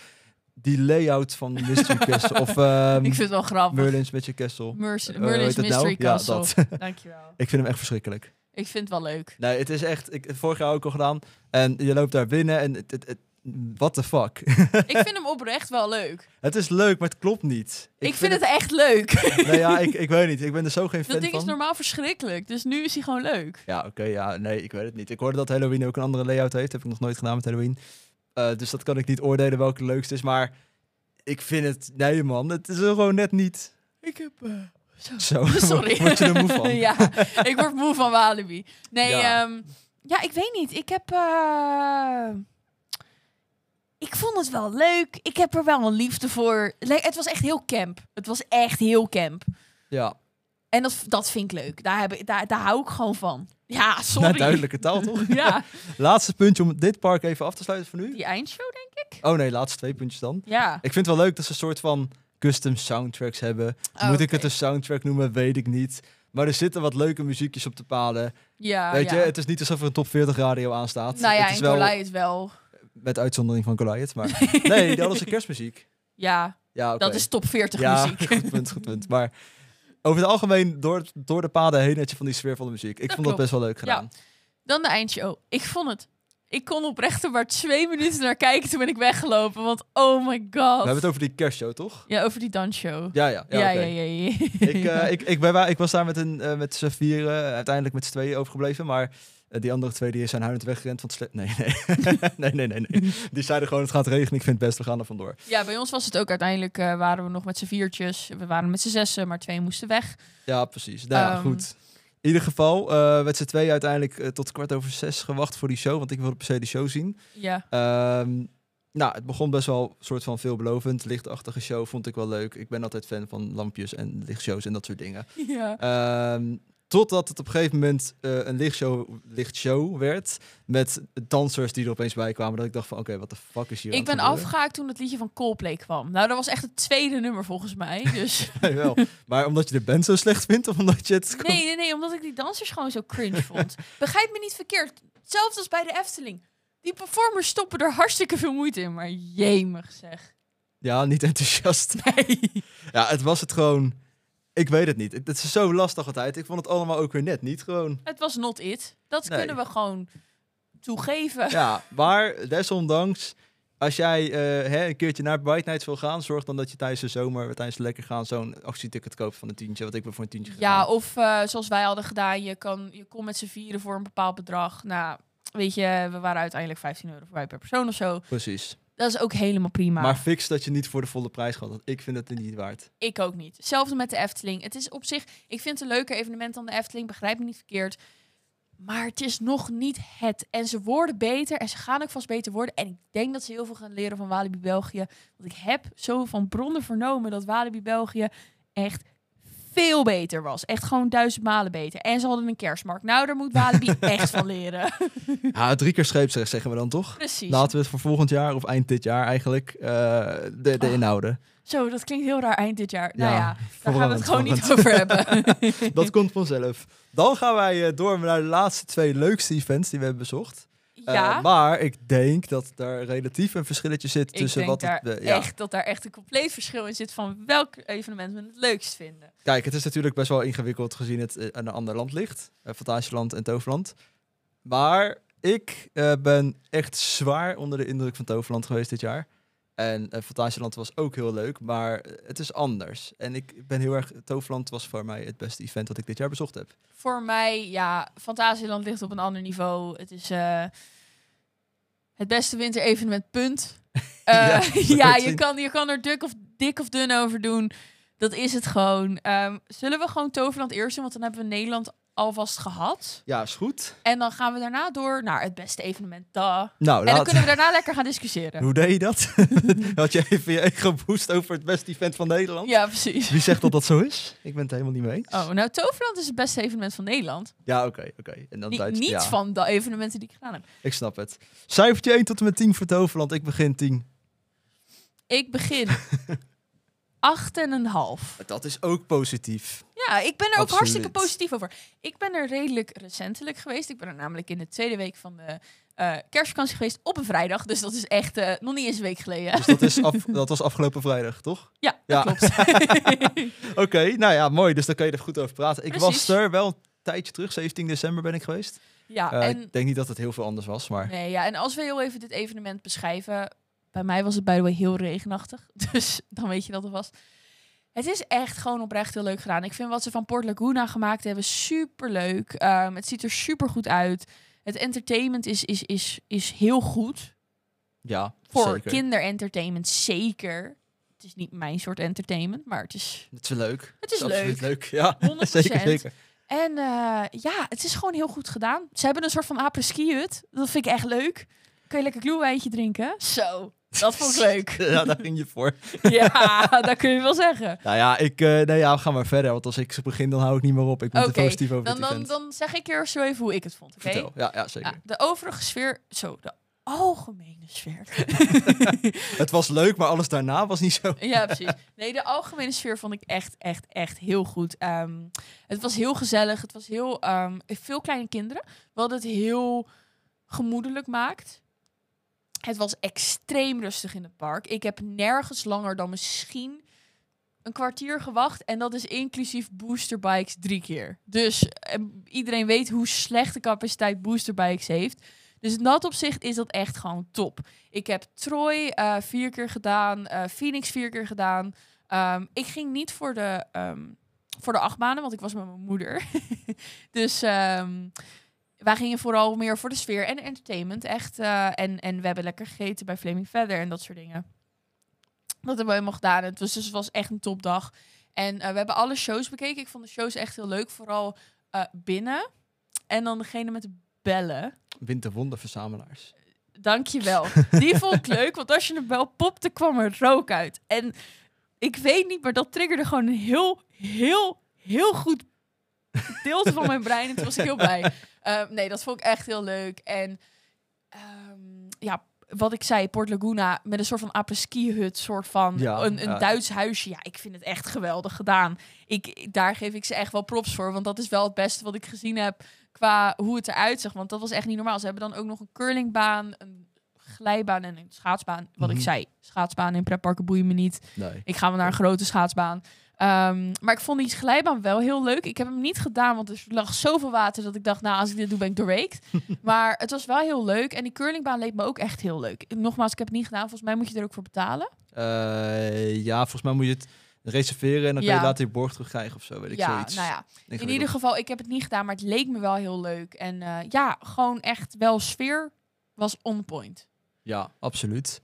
Die layout van Mystery Castle. of ehm, Ik vind het wel grappig. Merlin's Magic Castle. Mers- Eh, hoe heet Merlin's het nou? Mystery Castle. Ja, dat. Dankjewel. ik vind hem echt verschrikkelijk. Ik vind het wel leuk. Nee, het is echt... Ik, vorig jaar ook al gedaan. En je loopt daar binnen en... Het, het, het, what the fuck? ik vind hem oprecht wel leuk. Ik, het is leuk, maar het klopt niet. vind, het echt leuk. Nou ja, ik, ik weet niet. Ik ben er zo geen fan dat ding van. is normaal verschrikkelijk. Dus nu is hij gewoon leuk. Ja, oké, ja, nee, ik weet het niet. Ik hoorde dat Halloween ook een andere layout heeft. Heb ik nog nooit gedaan met Halloween. Eh, dus dat kan ik niet oordelen welke het leukste is. Maar ik vind het, nee man, het is er gewoon net niet. Ik heb... eh, Zo, Sorry. word je er moe van. ja, ik word moe van Walibi. Nee, Ja. ja, ja ik weet niet. Ik heb... eh, Ik vond het wel leuk. Ik heb er wel een liefde voor. Le- Het was echt heel camp. Het was echt heel camp. Ja, En dat, dat vind ik leuk. Daar, heb ik, daar, daar hou ik gewoon van. Ja, sorry. nou, duidelijke taal toch? Ja, Laatste puntje om dit park even af te sluiten voor nu. die eindshow denk ik. Oh nee, laatste twee puntjes dan. Ja. Ik vind het wel leuk dat ze een soort van custom soundtracks hebben. Oh, Moet ik oké. het een soundtrack noemen? Weet ik niet. Maar er zitten wat leuke muziekjes op de paden. Ja, Weet Oh, ja. je, het is niet alsof er een top 40 radio aanstaat. nou ja, het is en wel Colai is wel... met uitzondering van Goliath, maar nee, dat is kerstmuziek. Ja, Ja, oké. dat is top 40 ja, muziek. Goed punt, goed punt. Maar over het algemeen door, door de paden heen had je van die sfeervolle muziek. Ik Dat vond dat best klopt. wel leuk gedaan. Dan de eindshow. Ik vond het. Ik kon oprecht er maar twee minuten naar kijken. Toen ben ik weggelopen. Want oh my We god. hebben het over die kerstshow, toch? Ja, over die dansshow. Ja, ja. ja, Ja, ja, oké. ja, ja. Ik, eh, ik, ik, ben, wa- ik was daar met, een, eh, met z'n vieren, eh, uiteindelijk met z'n tweeën overgebleven. Maar eh, die andere twee die zijn huilend weggerend van het sle- Nee, nee. nee, nee, nee, nee. Die zeiden gewoon, het gaat regenen, ik vind het best, we gaan er vandoor. Ja, bij ons was het ook uiteindelijk, eh, waren we nog met z'n viertjes. We waren met z'n zessen, maar twee moesten weg. Ja, precies. Nou ja, Ehm. goed. In ieder geval, eh met z'n twee uiteindelijk eh, tot kwart over zes gewacht voor die show. Want ik wilde per se de show zien. Ja, Ehm, nou, het begon best wel soort van veelbelovend. Lichtachtige show vond ik wel leuk. Ik ben altijd fan van lampjes en lichtshows en dat soort dingen. ja. Ehm, totdat het op een gegeven moment eh, een lichtshow, lichtshow werd. Met dansers die er opeens bij kwamen. Dat ik dacht van, oké, wat de fuck is hier Ik aan ben het gebeuren? afgehaakt toen het liedje van Coldplay kwam. Nou, dat was echt het tweede nummer volgens mij. Dus Jawel. Maar omdat je de band zo slecht vindt of omdat je het... nee, nee, nee, omdat ik die dansers gewoon zo cringe vond. Begrijp me niet verkeerd. Hetzelfde als bij de Efteling. Die performers stoppen er hartstikke veel moeite in. Maar jemig zeg. Ja, niet enthousiast. Nee. Ja, het was het gewoon... Ik weet het niet. Het het is zo lastig altijd. Ik vond het allemaal ook weer net niet gewoon. Het was not it. Dat Nee. kunnen we gewoon toegeven. Ja, maar desondanks, als jij eh, hè, een keertje naar Bright Nights wil gaan, zorg dan dat je tijdens de zomer, tijdens het lekker gaan, zo'n actieticket koopt van een tientje. Wat ik ben voor een tientje gegaan. Ja, of eh, zoals wij hadden gedaan, je, kan, je kon met z'n vieren voor een bepaald bedrag. Nou, weet je, we waren uiteindelijk 15 euro voorbij per persoon of zo. precies. Dat is ook helemaal prima. Maar fix dat je niet voor de volle prijs gaat, want ik vind het niet waard. Ik ook niet. Hetzelfde met de Efteling. Het is op zich, ik vind het een leuker evenement dan de Efteling, begrijp me niet verkeerd. Maar het is nog niet het. En ze worden beter en ze gaan ook vast beter worden. En ik denk dat ze heel veel gaan leren van Walibi België. Want ik heb zo van bronnen vernomen dat Walibi België echt veel beter was. Echt gewoon duizend malen beter. En ze hadden een kerstmarkt. Nou, daar moet Walibi echt van leren. Ja, drie keer scheepsrecht zeggen we dan toch? Precies. Laten we het voor volgend jaar of eind dit jaar eigenlijk eh, de, de Oh. inhouden. Zo, dat klinkt heel raar eind dit jaar. nou Ja, ja, daar gaan we het gewoon verwarrend, niet over hebben. Dat komt vanzelf. Dan gaan wij eh, door naar de laatste twee leukste events die we hebben bezocht. Eh, ja. maar ik denk dat daar relatief een verschilletje zit Ik tussen denk wat daar het, eh, ja. echt, dat daar echt een compleet verschil in zit van welk evenement we het leukst vinden. Kijk, het is natuurlijk best wel ingewikkeld gezien het eh, aan een ander land ligt. Eh, Fantasieland en Toverland. Maar ik eh, ben echt zwaar onder de indruk van Toverland geweest dit jaar. En eh, Fantasieland was ook heel leuk, maar eh, het is anders. En ik ben heel erg... Toverland was voor mij het beste event dat ik dit jaar bezocht heb. Voor mij, ja, Fantasieland ligt op een ander niveau. Het is eh, het beste winterevenement, punt. Ja, Eh, ja, je zien. kan, je kan er dik of, dik of dun over doen. Dat is het gewoon. Ehm, zullen we gewoon Toverland eerst doen? Want dan hebben we Nederland alvast gehad. Ja, is goed. En dan gaan we daarna door naar het beste evenement. Duh. Nou, En dan laat... kunnen we daarna lekker gaan discussiëren. Hoe deed je dat? Had je even je ego boost over het beste event van Nederland? Ja, precies. Wie zegt dat dat zo is? Ik ben het helemaal niet mee eens. Oh, nou, Toverland is het beste evenement van Nederland. Ja, oké, oké. En dan Ni- Duits- niets ja. van de evenementen die ik gedaan heb. Ik snap het. Cijfertje 1 tot en met 10 voor Toverland. Ik begin 10. Ik begin acht en een half. Dat is ook positief. Ja, ik ben er ook Absoluut. hartstikke positief over. Ik ben er redelijk recentelijk geweest. Ik ben er namelijk in de tweede week van de eh, kerstvakantie geweest op een vrijdag. Dus dat is echt eh, nog niet eens een week geleden. Dus dat, is af, dat was afgelopen vrijdag, toch? Ja, Ja. dat klopt. Oké, nou ja, mooi. Dus daar kan je er goed over praten. Ik was Precies. er wel een tijdje terug. 17 december ben ik geweest. ja, Eh, en, Ik denk niet dat het heel veel anders was, maar... nee, ja, en als we heel even dit evenement beschrijven. Bij mij was het by the way heel regenachtig. Dus dan weet je dat het was. Het is echt gewoon oprecht heel leuk gedaan. Ik vind wat ze van Port Laguna gemaakt hebben super leuk. het ziet er super goed uit. Het entertainment is, is, is, is heel goed. Ja, Voor zeker. kinderentertainment zeker. Het is niet mijn soort entertainment, maar het is. Het is wel leuk. Het is absoluut leuk. leuk. Ja, 100%. zeker, zeker. En eh, ja, het is gewoon heel goed gedaan. Ze hebben een soort van apres-ski hut. Dat vind ik echt leuk. Kun je lekker gloewijntje drinken? Zo, dat vond ik leuk. ja, daar ging je voor. ja, dat kun je wel zeggen. Nou ja, ik, eh nee, ja, we gaan maar verder. Want als ik ze begin, dan hou ik niet meer op. Ik moet Oké, er positief over Dan, dit dan, event. dan zeg ik eerst zo even hoe ik het vond. Oké. Vertel. Ja, ja, zeker. Ja, de overige sfeer, zo, de algemene sfeer. Het was leuk, maar alles daarna was niet zo. ja, precies. Nee, de algemene sfeer vond ik echt, echt, echt heel goed. Ehm, het was heel gezellig. Het was heel... ehm, veel kleine kinderen. Wat het heel gemoedelijk maakt. Het was extreem rustig in het park. Ik heb nergens langer dan misschien een kwartier gewacht. En dat is inclusief boosterbikes drie keer. Dus eh, iedereen weet hoe slecht de capaciteit boosterbikes heeft. Dus in dat opzicht is dat echt gewoon top. Ik heb Troy eh, vier keer gedaan, eh, Phoenix vier keer gedaan. Ehm, ik ging niet voor de, ehm voor de achtbanen, want ik was met mijn moeder. dus ehm, wij gingen vooral meer voor de sfeer en entertainment. Echt. eh, en, en we hebben lekker gegeten bij Flaming Feather en dat soort dingen. Dat hebben we helemaal gedaan. Het was, dus het was echt een topdag. En eh, we hebben alle shows bekeken. Ik vond de shows echt heel leuk. Vooral eh, binnen. En dan degene met de bellen. Winterwonderverzamelaars. Dankjewel. Die vond ik leuk, want als je een bel popte, kwam er rook uit. En ik weet niet, maar dat triggerde gewoon een heel, heel, heel goed gedeelte van mijn brein. En toen was ik heel blij. Ehm, nee, dat vond ik echt heel leuk. En ehm, ja, wat ik zei, Port Laguna met een soort van apres-ski hut, soort van Ja, een, een ja. Duits huisje. Ja, ik vind het echt geweldig gedaan. Ik, daar geef ik ze echt wel props voor, want dat is wel het beste wat ik gezien heb qua hoe het eruit zag. Want dat was echt niet normaal. Ze hebben dan ook nog een curlingbaan, een glijbaan en een schaatsbaan. Wat Mhm. ik zei, schaatsbaan in pretparken boeien me niet. Nee. Ik ga wel naar een grote schaatsbaan. Ehm, maar ik vond die glijbaan wel heel leuk. Ik heb hem niet gedaan, want er lag zoveel water dat ik dacht, nou, als ik dit doe, ben ik doorweekt. maar het was wel heel leuk. En die curlingbaan leek me ook echt heel leuk. Nogmaals, ik heb het niet gedaan. Volgens mij moet je er ook voor betalen. Eh, ja, volgens mij moet je het reserveren en dan kun Ja. je later je borg terugkrijgen of zo, weet ik ja, zoiets. nou ja. In Ingewikkeld. ieder geval, ik heb het niet gedaan, maar het leek me wel heel leuk. En eh, ja, gewoon echt wel sfeer was on point. Ja, absoluut.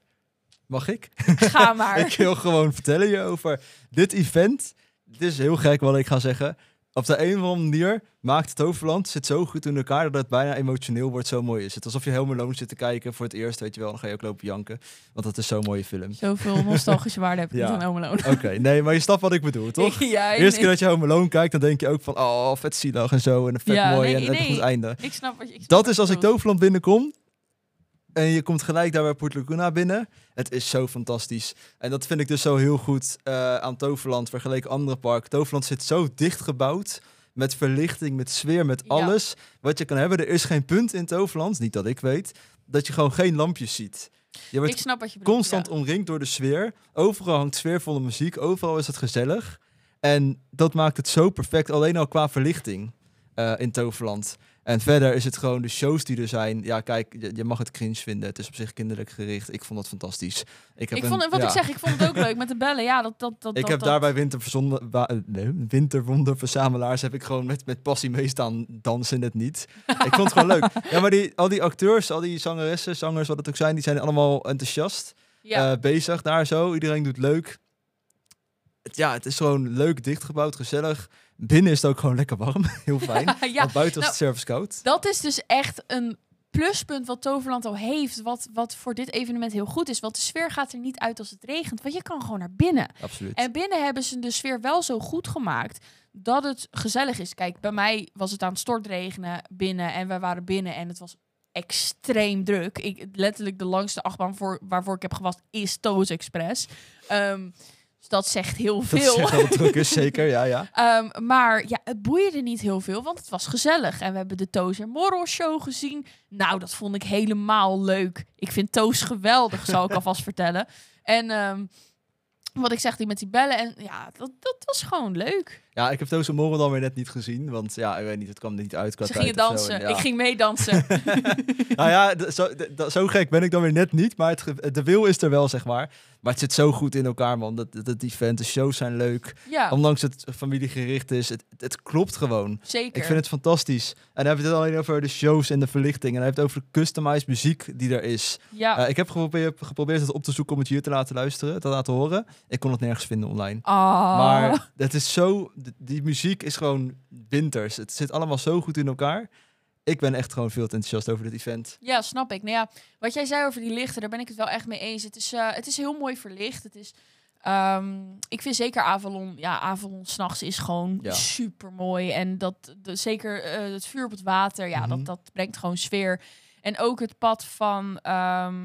Mag ik? Ga maar. Ik wil gewoon vertellen je over dit event. Het is heel gek wat ik ga zeggen. Op de een of andere manier maakt het Toverland zit zo goed in elkaar dat het bijna emotioneel wordt. Zo mooi is het. Alsof je helemaal loon zit te kijken voor het eerst, weet je wel. Dan ga je ook lopen janken, want dat is zo'n mooie film. Zoveel nostalgische waarde heb ik Ja. niet aan Omeloon. Oké, nee, maar je snapt wat ik bedoel, toch? ja, De eerste nee. keer dat je Home Alone kijkt, dan denk je ook van... Oh, vet zielig en zo. En vet Ja, mooi nee, en nee. Oh. een goed einde. Ik snap wat je ik snap Dat wat is je als ik bedoelt. Toverland binnenkom. En je komt gelijk daar bij Port Laguna binnen. Het is zo fantastisch. En dat vind ik dus zo heel goed eh, aan Toverland vergeleken andere parken. Toverland zit zo dicht gebouwd. Met verlichting, met sfeer, met Ja. alles wat je kan hebben. Er is geen punt in Toverland, niet dat ik weet, dat je gewoon geen lampjes ziet. Je wordt Ik snap wat je bedoelt. constant ja. omringd door de sfeer. Overal hangt sfeervolle muziek. Overal is het gezellig. En dat maakt het zo perfect. Alleen al qua verlichting eh, in Toverland. En verder is het gewoon de shows die er zijn. Ja, kijk, je, je mag het cringe vinden. Het is op zich kinderlijk gericht. Ik vond dat fantastisch. Ik heb, Ik vond, een- het- wat ja. ik zeg, ik vond het ook leuk met de bellen. Ja, dat, dat, dat, Ik dat, heb dat- daarbij winterverzonden- wa- eh, nee, winterwonderverzamelaars heb ik gewoon met, met passie meestaan dansen in het niet. ik vond het gewoon leuk. Ja, maar die, al die acteurs, al die zangeressen, zangers, wat het ook zijn, die zijn allemaal enthousiast Ja, eh, bezig daar zo. Iedereen doet leuk. Het, ja, het is gewoon leuk dichtgebouwd, gezellig. Binnen is het ook gewoon lekker warm. Heel fijn. ja. Want buiten was nou- het service koud. dat is dus echt een pluspunt wat Toverland al heeft. Wat, wat voor dit evenement heel goed is. Want de sfeer gaat er niet uit als het regent. Want je kan gewoon naar binnen. Absoluut. En binnen hebben ze de sfeer wel zo goed gemaakt dat het gezellig is. Kijk, bij mij was het aan het stortregenen binnen en wij waren binnen en het was extreem druk. Ik, letterlijk de langste achtbaan voor, waarvoor ik heb gewast is Toos Express. Ehm, dus dat zegt heel dat is veel. echt wel wat druk is, zeker. Ja, ja. Ehm, maar ja, het boeide niet heel veel, want het was gezellig. En we hebben de Toos en Morrel show gezien. Nou, dat vond ik helemaal leuk. Ik vind Toos geweldig, zal ik alvast vertellen. En ehm, wat ik zeg, die met die bellen. En ja, dat, dat was gewoon leuk. Ja, ik heb Toos en Morrel dan weer net niet gezien. Want ja, ik weet niet, het kwam er niet uit qua Ze tijd gingen of zo. dansen. En ja. Ik ging meedansen. Nou ja, d- zo, d- d- zo gek ben ik dan weer net niet. Maar het, ge- de wil is er wel, zeg maar. Maar het zit zo goed in elkaar, man. Dat, dat, dat event, de shows zijn leuk. ja, Ondanks het familiegericht is, het, het klopt gewoon. zeker. Ik vind het fantastisch. En dan hebben we het alleen over de shows en de verlichting. En dan hebben we het over de customized muziek die er is. Ja. Eh, ik heb geprobeerd, geprobeerd het op te zoeken om het hier te laten luisteren, te laten horen. Ik kon het nergens vinden online. Ah. Maar het is zo, d- die muziek is gewoon winters. Het zit allemaal zo goed in elkaar. Ik ben echt gewoon veel te enthousiast over dit event. Ja, snap ik. Nou ja, wat jij zei over die lichten, daar ben ik het wel echt mee eens. Het is, eh, het is heel mooi verlicht. Het is, ehm, ik vind zeker Avalon, ja, Avalon s'nachts is gewoon Ja. super mooi. En dat, de- zeker eh, het vuur op het water, ja, Mhm. dat, dat brengt gewoon sfeer. En ook het pad van ehm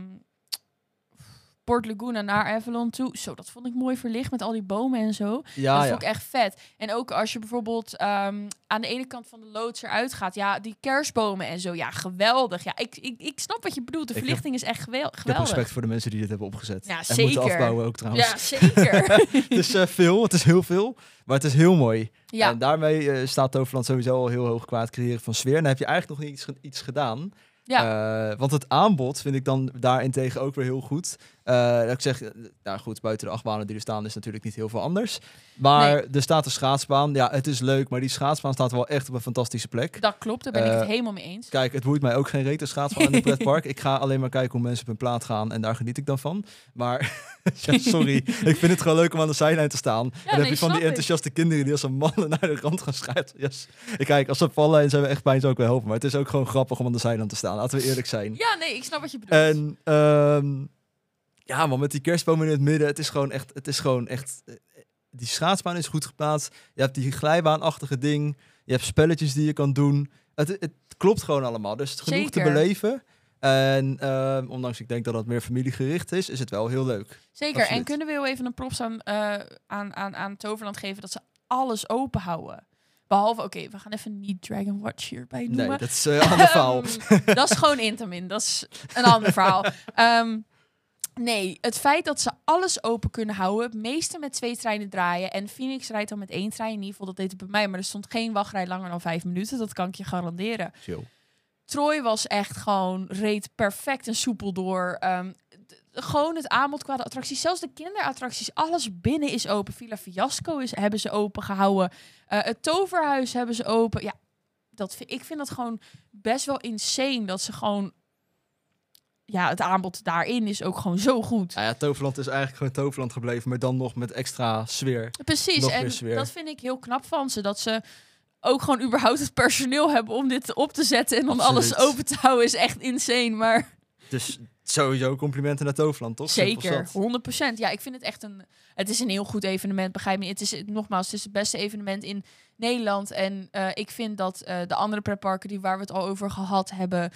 Port Laguna naar Avalon toe. Zo, dat vond ik mooi verlicht met al die bomen en zo. Ja, dat ja. vond ik echt vet. En ook als je bijvoorbeeld ehm, aan de ene kant van de loods eruit gaat. Ja, die kerstbomen en zo. Ja, geweldig. Ja, ik, ik, ik snap wat je bedoelt. De Ik heb- verlichting is echt gewel- Ik heb geweldig. respect voor de mensen die dit hebben opgezet. Ja, en zeker. moeten afbouwen ook trouwens. ja, zeker. Het is eh, veel, het is heel veel, maar het is heel mooi. ja. En daarmee eh, staat Toverland sowieso al heel hoog qua het creëren van sfeer. En dan heb je eigenlijk nog niet iets, ge- iets gedaan. Eh, want het aanbod vind ik dan daarentegen ook weer heel goed. Eh, dat ik zeg, eh, nou goed, buiten de achtbanen die er staan is natuurlijk niet heel veel anders. Maar er staat een schaatsbaan. Ja, het is leuk, maar die schaatsbaan staat wel echt op een fantastische plek. Dat klopt, daar ben ik het Eh, helemaal mee eens. Kijk, het boeit mij ook geen reet een schaatsbaan in een pretpark. Ik ga alleen maar kijken hoe mensen op hun plaat gaan en daar geniet ik dan van. Maar ja, sorry, ik vind het gewoon leuk om aan de zijlijn te staan. en dan heb nee, je van snap die ik. enthousiaste kinderen die als een mannen naar de rand gaan schuiven. Yes. Ik Kijk, als ze vallen en ze hebben echt pijn, zou ik wel helpen. Maar het is ook gewoon grappig om aan de zijlijn te staan. Laten we eerlijk zijn. Ja, nee, ik snap wat je bedoelt. En ehm, ja, man, met die kerstboom in het midden, het is gewoon echt, het is gewoon echt. eh, Die schaatsbaan is goed geplaatst. Je hebt die glijbaanachtige ding. Je hebt spelletjes die je kan doen. Het, het klopt gewoon allemaal. Dus het is genoeg te Zeker. beleven. En ehm, ondanks ik denk dat het meer familiegericht is, is het wel heel leuk. Zeker. En absoluut. kunnen we heel even een props aan, eh, aan, aan, aan Toverland geven dat ze alles open houden? Behalve, oké, we gaan even niet Dragon Watch hierbij noemen. Nee, dat is eh, een ander verhaal. Ehm, dat is gewoon Intamin. Dat is een ander verhaal. Ehm, nee, het feit dat ze alles open kunnen houden, het meeste met twee treinen draaien en Phoenix rijdt dan met één trein. In ieder geval, dat deed het bij mij, maar er stond geen wachtrij langer dan vijf minuten. Dat kan ik je garanderen. Chill. Troy was echt gewoon reed perfect en soepel door. Ehm, d- gewoon het aanbod qua de attracties, zelfs de kinderattracties, alles binnen is open. Villa Fiasco is, hebben ze open gehouden. Eh, het toverhuis hebben ze open. Ja, dat vind, ik vind dat gewoon best wel insane dat ze gewoon. Ja, het aanbod daarin is ook gewoon zo goed. Nou ja, Toverland is eigenlijk gewoon Toverland gebleven, maar dan nog met extra sfeer. Precies, nog en meer sfeer. dat vind ik heel knap van ze. Dat ze ook gewoon überhaupt het personeel hebben om dit op te zetten en om alles Absoluut. open te houden is echt insane. Maar Dus sowieso complimenten naar Toverland, toch? Simpel is Zeker, dat. 100%. Ja, ik vind het echt een. Het is een heel goed evenement, begrijp me. niet. Het is nogmaals, het is het beste evenement in Nederland. En eh, ik vind dat eh, de andere pretparken die waar we het al over gehad hebben,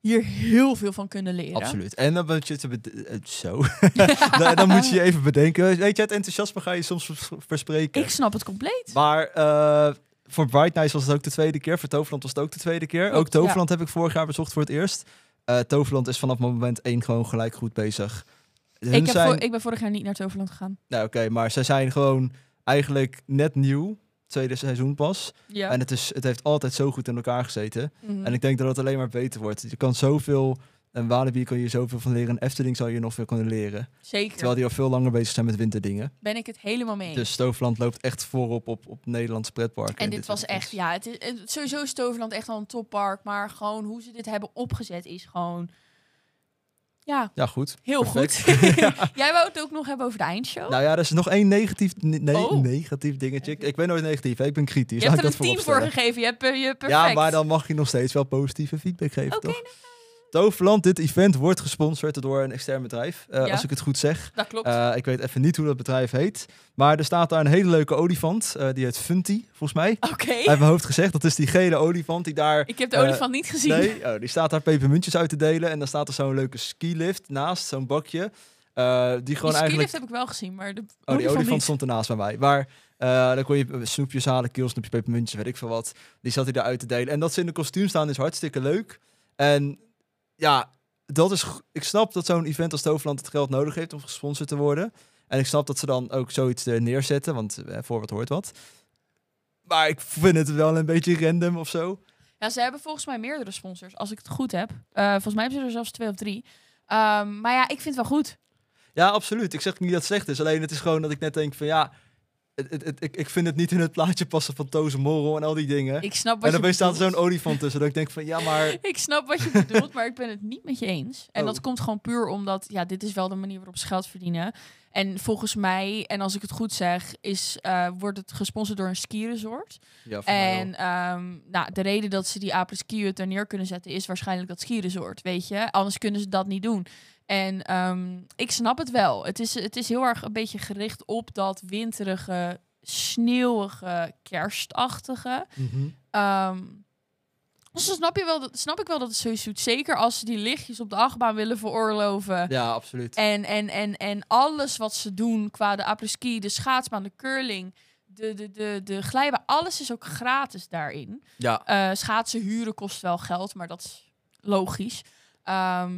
hier heel veel van kunnen leren. Absoluut. En dan moet je te bed- eh, zo. Nou, dan, dan moet je je even bedenken. Weet je, het enthousiasme ga je soms vers- verspreken. Ik snap het compleet. Maar eh, voor Bright Nights was het ook de tweede keer. Voor Toverland was het ook de tweede keer. Klopt, ook Toverland heb ik vorig jaar bezocht voor het eerst. Eh, Toverland is vanaf moment één gewoon gelijk goed bezig. Hun Ik, heb zijn- voor- ik ben vorig jaar niet naar Toverland gegaan. Nou oké, maar zij zijn gewoon eigenlijk net nieuw. Tweede seizoen pas. Ja. En het, is, het heeft altijd zo goed in elkaar gezeten. Mhm. En ik denk dat het alleen maar beter wordt. Je kan zoveel... En Walibi kan je zoveel van leren. En Efteling zal je nog veel kunnen leren. Zeker. Terwijl die al veel langer bezig zijn met winterdingen. Ben ik het helemaal mee. eens. Dus Stoofland loopt echt voorop op, op Nederlands pretparken. En dit was soort echt, dingen. ja, het is, het- sowieso is Toverland echt al een toppark. Maar gewoon hoe ze dit hebben opgezet is gewoon. Ja, Ja, goed. heel goed. Perfect. Ja. Jij wou het ook nog hebben over de eindshow? Nou ja, er is nog één negatief, ne- ne- Oh. negatief dingetje. Ik, ik ben nooit negatief, hè. ik ben kritisch. je Laat hebt ik er dat een 10 voor vooropstellen. gegeven. Je hebt eh, je perfect. Ja, maar dan mag je nog steeds wel positieve feedback geven, Oké, nou. toch? Toverland, dit event wordt gesponsord door een extern bedrijf. eh, Ja. Als ik het goed zeg. dat klopt. Eh, ik weet even niet hoe dat bedrijf heet. Maar er staat daar een hele leuke olifant. eh, die heet Funty, volgens mij. Oké. Uit mijn hoofd gezegd. Dat is die gele olifant die daar Ik heb de eh, olifant niet gezien. Nee, oh, die staat daar pepermuntjes uit te delen. En dan staat er zo'n leuke skilift naast, zo'n bakje. eh, die Die gewoon eigenlijk... skilift heb ik wel gezien, maar de Oh, die olifant niet. stond ernaast bij mij. Maar eh, dan kon je eh, snoepjes halen, keelsnoepjes, pepermuntjes, weet ik veel wat. Die zat hij daar uit te delen. En dat ze in een kostuum staan is hartstikke leuk. En ja, dat is... go- Ik snap dat zo'n event als Toverland het geld nodig heeft om gesponsord te worden. En ik snap dat ze dan ook zoiets er neerzetten, want eh, voor wat hoort wat. Maar ik vind het wel een beetje random of zo. Ja, ze hebben volgens mij meerdere sponsors, als ik het goed heb. Eh, volgens mij hebben ze er zelfs twee of drie. Ehm, maar ja, ik vind het wel goed. Ja, absoluut. Ik zeg niet dat het slecht is. Alleen het is gewoon dat ik net denk van ja, het, het, het- ik, ik vind het niet in het plaatje passen van Toze Morrel en al die dingen. Ik snap en wat dan je staat er bedoelt. zo'n olifant tussen. Dat ik denk van ja, maar Ik snap wat je bedoelt, maar ik ben het niet met je eens. En Oh. dat komt gewoon puur omdat, ja, dit is wel de manier waarop ze geld verdienen. En volgens mij, en als ik het goed zeg, is, eh, wordt het gesponsord door een skiresort. ja, En ehm, nou, de reden dat ze die apres-ski hut er neer kunnen zetten is waarschijnlijk dat skiresort, weet je. Anders kunnen ze dat niet doen. En ehm, ik snap het wel. Het is, het is heel erg een beetje gericht op dat winterige, Mhm. sneeuwige, kerstachtige. Ehm, Dus dan snap, je wel dat, snap ik wel dat het zoiets doet. Zeker als ze die lichtjes op de achtbaan willen veroorloven. Ja, absoluut. En, en, en, en alles wat ze doen qua de apres-ski, de schaatsbaan, de curling, de, de, de, de glijbaan, alles is ook gratis daarin. Ja, Eh, schaatsen huren kost wel geld, maar dat is logisch. Ehm,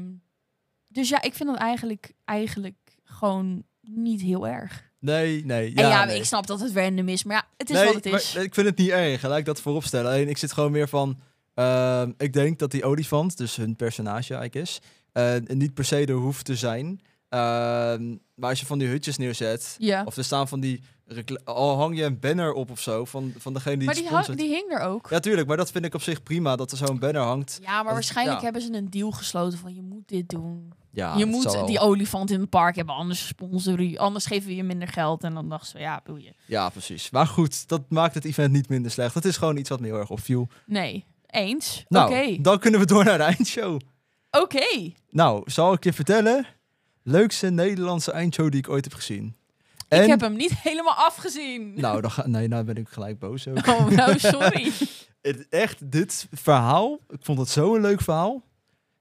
dus ja, ik vind dat eigenlijk, eigenlijk gewoon niet heel erg. nee, nee. en ja, nee. ik snap dat het random is, maar ja, het is Nee, wat het maar is. ik vind het niet erg, laat ik dat voorop stellen. Alleen ik zit gewoon meer van. ehm, ik denk dat die olifant, dus hun personage eigenlijk is, eh, niet per se er hoeft te zijn. Ehm, maar als je van die hutjes neerzet, ja. of er staan van die. recla- Al hang je een banner op of zo, van, van degene die Maar het die, sponsort. hang- die hing er ook. Ja, Ja, tuurlijk, maar dat vind ik op zich prima dat er zo'n banner hangt. maar waarschijnlijk ja. hebben ze een deal gesloten van je moet dit doen. Ja, je dat zal wel. moet die olifant in het park hebben, anders sponsoren je, anders geven we je minder geld. En dan dacht ze, ja, boeien. Ja, precies. Maar goed, dat maakt het event niet minder slecht. Dat is gewoon iets wat me heel erg opviel. Nee, eens. Nou, Oké, dan kunnen we door naar de eindshow. oké. Nou, zal ik je vertellen? Leukste Nederlandse eindshow die ik ooit heb gezien. En, Ik heb hem niet helemaal afgezien. Nou, dan ga, nee, nou ben ik gelijk boos ook. Oh, nou, sorry. Het- Echt, dit verhaal, ik vond het zo een leuk verhaal.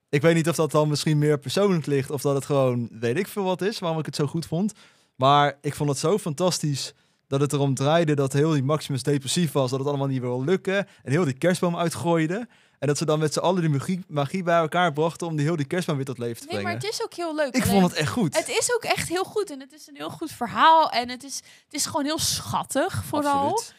Ik weet niet of dat dan misschien meer persoonlijk ligt... of dat het gewoon weet ik veel wat is, waarom ik het zo goed vond. Maar ik vond het zo fantastisch dat het erom draaide... dat heel die Maximus depressief was, dat het allemaal niet wil lukken... en heel die kerstboom uitgooide... en dat ze dan met z'n allen die magie, magie bij elkaar brachten... om die heel die kerstboom weer tot leven te Nee, maar brengen. het is ook heel leuk. ik Alleen, vond het echt goed. het is ook echt heel goed en het is een heel goed verhaal. En het is, het is gewoon heel schattig, vooral. Absoluut.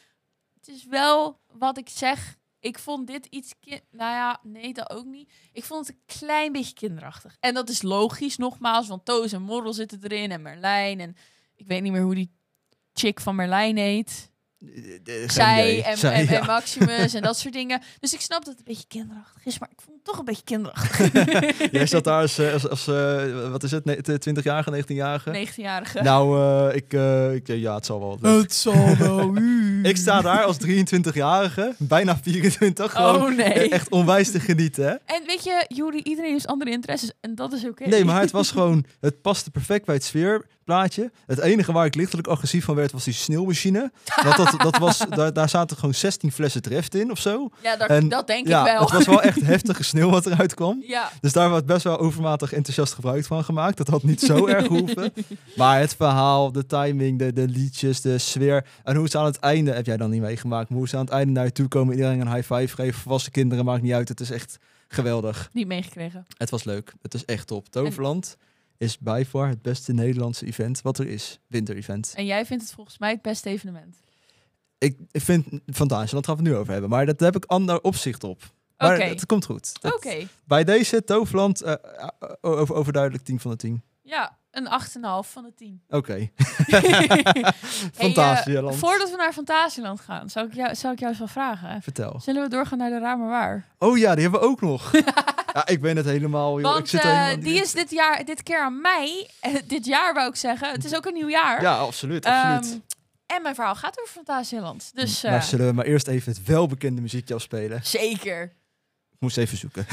Het is wel wat ik zeg. Ik vond dit iets... Ki- nou ja, nee, dat ook niet. Ik vond het een klein beetje kinderachtig. En dat is logisch, nogmaals. Want Toos en Morrel zitten erin en Merlijn. En ik weet niet meer hoe die chick van Merlijn heet. Eh, eh, geen idee. zij en, Zij, en, ja. en Maximus en dat soort dingen. Dus ik snap dat het een beetje kinderachtig is, maar ik vond het toch een beetje kinderachtig. Jij zat daar als, eh, als, als eh, wat is het, ne- 20-jarige, 19-jarige? 19-jarige. Nou, eh, ik, eh, ik, ja, het zal wel. wat lukken. het zal wel. Ik sta daar als 23-jarige, bijna 24, gewoon e- Oh nee. echt onwijs te genieten. Hè? En weet je, Juri, iedereen heeft andere interesses en dat is oké. Nee, maar het was gewoon, het paste perfect bij het sfeerplaatje. Het enige waar ik lichtelijk agressief van werd, was die sneeuwmachine. Want dat, dat was, daar, daar zaten gewoon 16 flessen treft in of zo. Ja, dat, en- dat denk ja, ik wel. het was wel echt heftige sneeuw wat eruit kwam. Ja, Dus daar werd best wel overmatig enthousiast gebruik van gemaakt. Dat had niet zo erg gehoeven. Maar het verhaal, de timing, de, de liedjes, de sfeer. En hoe ze aan het einde, heb jij dan niet meegemaakt, maar hoe ze aan het einde naar je toe komen, iedereen een high five geven. Volwassen kinderen, maakt niet uit. Het is echt geweldig. niet meegekregen. Het was leuk. Het is echt top. Toverland is bij far het beste Nederlandse event wat er is. Winter-event. En jij vindt het volgens mij het beste evenement. Ik ik vind Fantasialand gaan we het nu over hebben. Maar dat heb ik ander opzicht op. Maar Oké. het komt goed. Dat- Oké, Bij deze Toverland eh, eh, over, overduidelijk 10 van de 10. ja, een 8,5 van de 10. Oké. Hey, eh, Fantasieland. voordat we naar Fantasieland gaan, zou ik jou, zou ik jou eens wel vragen. Vertel. Zullen we doorgaan naar de ramen waar? Oh ja, die hebben we ook nog. ja, ik ben het helemaal... Joh. ik Want zit eh, helemaal in die is dit, jaar, dit keer aan mij. Eh, dit jaar wou ik zeggen. Het is ook een nieuw jaar. Ja, absoluut. Ehm, absoluut. Hm, en mijn verhaal gaat over Fantasieland. Dus eh, maar zullen we maar eerst even het welbekende muziekje afspelen? zeker. Ik moest even zoeken.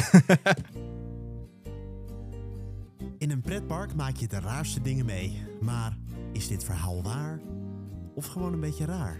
In een pretpark maak je de raarste dingen mee. Maar is dit verhaal waar? Of gewoon een beetje raar?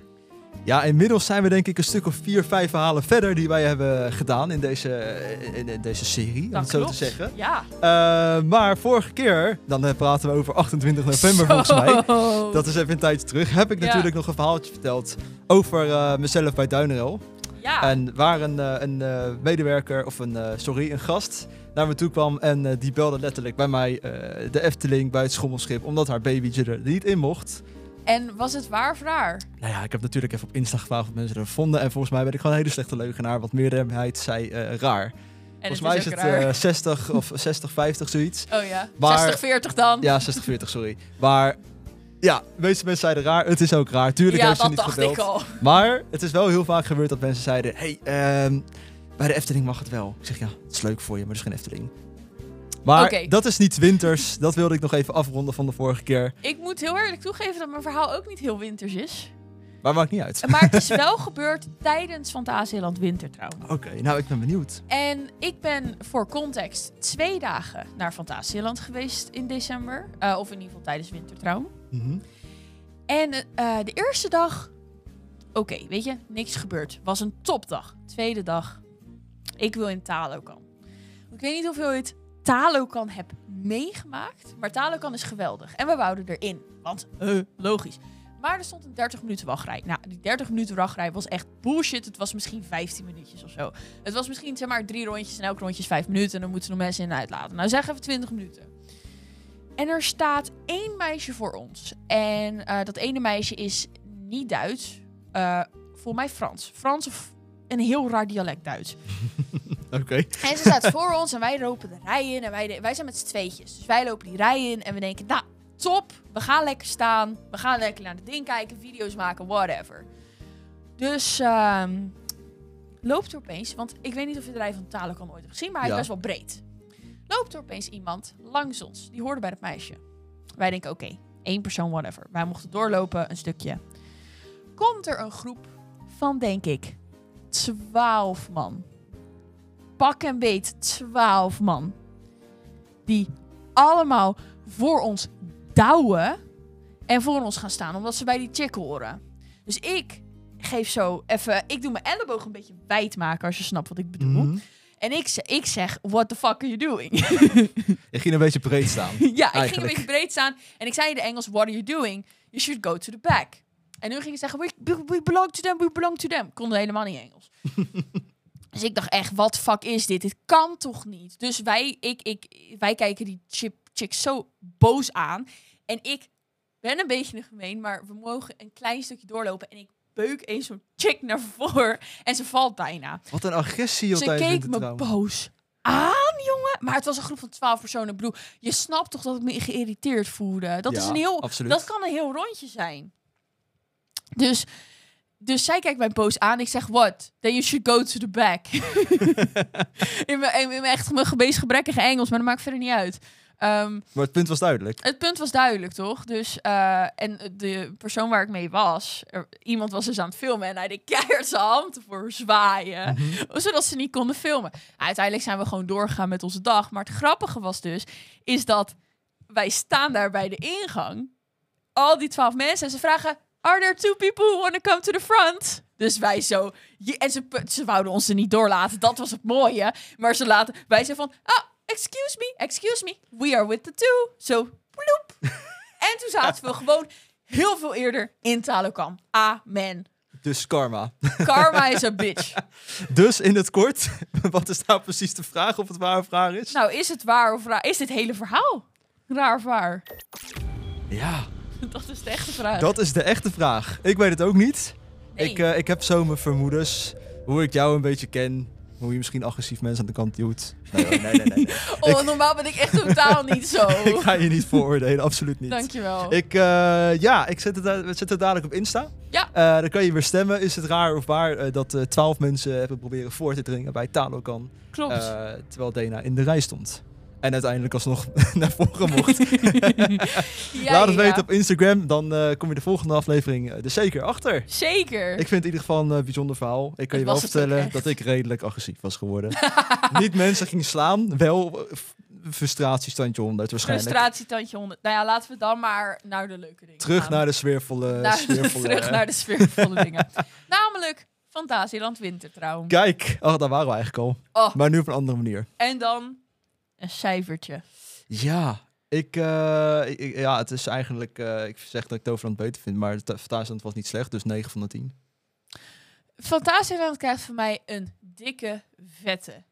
Ja, inmiddels zijn we denk ik een stuk of vier, vijf verhalen verder die wij hebben gedaan in deze, eh, in, in deze serie, om Dat het zo klopt. te zeggen. Ja. Eh, maar vorige keer, dan eh, praten we over 28 november volgens mij. Zo. Dat is even een tijdje terug. Heb ik Ja. natuurlijk nog een verhaaltje verteld over eh, mezelf bij Duinerel. Ja. En waar een, eh, een eh, medewerker, of een, eh, sorry, een gast naar me toe kwam. En eh, die belde letterlijk bij mij eh, de Efteling bij het schommelschip. Omdat haar babytje er niet in mocht. En was het waar of raar? Nou ja, ik heb natuurlijk even op Insta gevraagd wat mensen er vonden. En volgens mij ben ik gewoon een hele slechte leugenaar. Want meerderheid zei eh, raar. En volgens mij is ook het raar. eh, 60 of 60, 50 zoiets. oh ja. maar- 60, 40 dan. Ja, 60, 40, sorry. Maar ja, de meeste mensen zeiden raar. Het is ook raar. Tuurlijk Ja, heeft ze dat niet dacht gebeld. ik al. Maar het is wel heel vaak gebeurd dat mensen zeiden: hey, ehm, bij de Efteling mag het wel. Ik zeg ja, het is leuk voor je, maar er is geen Efteling. Maar Oké. dat is niet winters. Dat wilde ik nog even afronden van de vorige keer. Ik moet heel eerlijk toegeven dat mijn verhaal ook niet heel winters is. Maar maakt niet uit. Maar het is wel gebeurd tijdens Fantasieland winter trouwens. Oké, nou ik ben benieuwd. En ik ben voor context twee dagen naar Fantasieland geweest in december. Eh, of in ieder geval tijdens wintertrouw. Mhm. En eh, de eerste dag, oké, weet je, niks gebeurd. Was een topdag. Tweede dag, Ik wil in Talokan. Ik weet niet of je ooit Talokan hebt meegemaakt, maar Talokan is geweldig. En we wouden erin, want eh, logisch. Maar er stond een 30 minuten wachtrij. Nou, die 30 minuten wachtrij was echt bullshit. Het was misschien 15 minuutjes of zo. Het was misschien zeg maar drie rondjes en elk rondje is vijf minuten. En dan moeten we nog mensen in en uitlaten. Nou, zeg even 20 minuten. En er staat één meisje voor ons. En eh, dat ene meisje is niet Duits. Eh volgens mij Frans. Frans of een heel raar dialect Duits. Oké. En ze staat voor ons en wij lopen de rij in. En wij, de- wij zijn met z'n tweetjes. Dus wij lopen die rij in en we denken, nou, top. We gaan lekker staan. We gaan lekker naar het ding kijken, video's maken, whatever. Dus ehm, loopt er opeens, want ik weet niet of je de rij van Talokan ooit hebt gezien, maar hij Ja. is best wel breed. Loopt er opeens iemand langs ons. Die hoorde bij het meisje. Wij denken, oké, één persoon, whatever. Wij mochten doorlopen, een stukje. Komt er een groep van, denk ik, twaalf man pak en beet 12 man. Die allemaal voor ons douwen en voor ons gaan staan, omdat ze bij die chick horen. Dus ik geef zo even, ik doe mijn elleboog een beetje wijd maken, als je snapt wat ik bedoel. Mhm. En ik, ze- ik zeg, what the fuck are you doing? Ik ging een beetje breed staan. ja, ik ging een Eigenlijk. beetje breed staan en ik zei in de Engels, what are you doing? You should go to the back. En nu ging ik zeggen, we, we- we belong to them, we belong to them. Konden helemaal niet Engels. dus ik dacht echt, wat fuck is dit? Dit kan toch niet? Dus wij, ik, ik, wij kijken die chip, chick zo boos aan. En ik ben een beetje gemeen, maar we mogen een klein stukje doorlopen. En ik beuk eens zo'n chick naar voren en ze valt bijna. Wat een agressie joh, Ze tijdens keek me wintertrouw. boos aan, jongen. Maar het was een groep van twaalf personen. Ik bedoel, je snapt toch dat ik me geïrriteerd voelde? Dat Ja, is een heel... Absoluut. Dat kan een heel rondje zijn. Dus, dus zij kijkt mij boos aan. Ik zeg, what? Then you should go to the back. in mijn, in mijn echt mijn meest gebrekkige Engels, maar dat maakt verder niet uit. Ehm, Maar het punt was duidelijk. het punt was duidelijk, toch? Dus, eh, en de persoon waar ik mee was, er- iemand was dus aan het filmen en hij deed keihard zijn hand voor zwaaien, zodat ze niet konden filmen. Uiteindelijk zijn we gewoon doorgegaan met onze dag. Maar het grappige was dus, is dat wij staan daar bij de ingang, al die twaalf mensen, en ze vragen, are there two people who want to come to the front? Dus wij zo, je- en ze, ze wouden ons er niet doorlaten, dat was het mooie. Maar ze laten, wij zijn van, ah, excuse me, excuse me, we are with the two. Zo, ploep. en toen zaten we gewoon heel veel eerder in Talokan. Amen. Dus karma. Karma is a bitch. Dus in het kort, wat is nou precies de vraag of het waar of raar is? Nou, is het waar of raar? Is dit hele verhaal raar of waar? Nou, ja, Dat is de echte vraag. dat is de echte vraag. Ik weet het ook niet. Nee. Ik, eh, ik heb zo mijn vermoedens. Hoe ik jou een beetje ken. Hoe je misschien agressief mensen aan de kant duwt. Nee, hoor, nee, nee, nee. nee. oh, normaal ben ik echt totaal niet zo. ik ga je niet veroordelen, absoluut niet. Dankjewel. Ik, eh, ja, ik zet het, da- we zetten het dadelijk op Insta. Ja. Eh, dan kan je weer stemmen. Is het raar of waar eh, dat twaalf mensen hebben proberen voor te dringen bij Talokan. Klopt. eh, terwijl Dena in de rij stond. En uiteindelijk alsnog naar voren mocht. Ja, Laat het ja, ja. weten op Instagram. Dan eh, kom je de volgende aflevering eh, er zeker achter. Zeker. Ik vind het in ieder geval een eh, bijzonder verhaal. Ik kan Het je wel was het ook vertellen echt. dat ik redelijk agressief was geworden. Niet mensen ging slaan, wel eh, f- frustratiestandje 100 waarschijnlijk. Frustratietandje 100. Nou ja, laten we dan maar naar de leuke dingen Terug gaan. naar de sfeervolle... Naar- sfeervolle eh, terug naar de sfeervolle dingen. Namelijk Fantasieland Wintertrouw. Kijk, oh, daar waren we eigenlijk al. Oh. Maar nu op een andere manier. En dan een cijfertje. Ja, ik, eh, ik- ik- ja, het is eigenlijk... eh, ik zeg dat ik Toverland beter vind, maar Ta- Fantasieland was niet slecht. Dus 9 van de 10. Fantasieland krijgt van mij een dikke, vette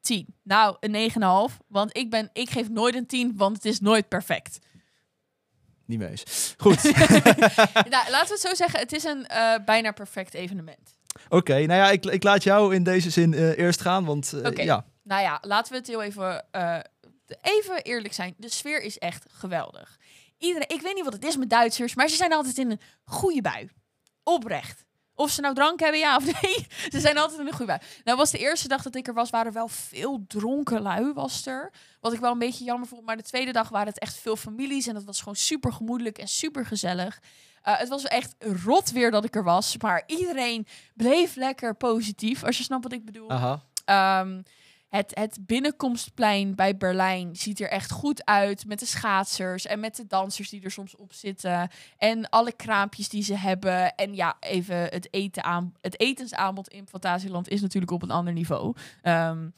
10. Nou, een 9,5. Want ik, ben, ik geef nooit een 10, want het is nooit perfect. Niet mee eens. Goed. nou, laten we het zo zeggen. Het is een eh, bijna perfect evenement. Oké, nou ja, ik, ik laat jou in deze zin eh, eerst gaan, want eh, Oké. ja, Nou ja, laten we het heel even, eh, even eerlijk zijn. De sfeer is echt geweldig. Iedereen, ik weet niet wat het is met Duitsers, maar ze zijn altijd in een goede bui. Oprecht. Of ze nou drank hebben, ja of nee. Ze zijn altijd in een goede bui. Nou was de eerste dag dat ik er was, waren er wel veel dronken lui was er. Wat ik wel een beetje jammer vond. Maar de tweede dag waren het echt veel families. En dat was gewoon super gemoedelijk en super gezellig. Eh, het was echt rot weer dat ik er was. Maar iedereen bleef lekker positief, als je snapt wat ik bedoel. aha. Ehm, Het, het binnenkomstplein bij Berlijn ziet er echt goed uit. Met de schaatsers en met de dansers die er soms op zitten. En alle kraampjes die ze hebben. En ja, even het, eten aan, het etensaanbod in Fantasieland is natuurlijk op een ander niveau. Ehm,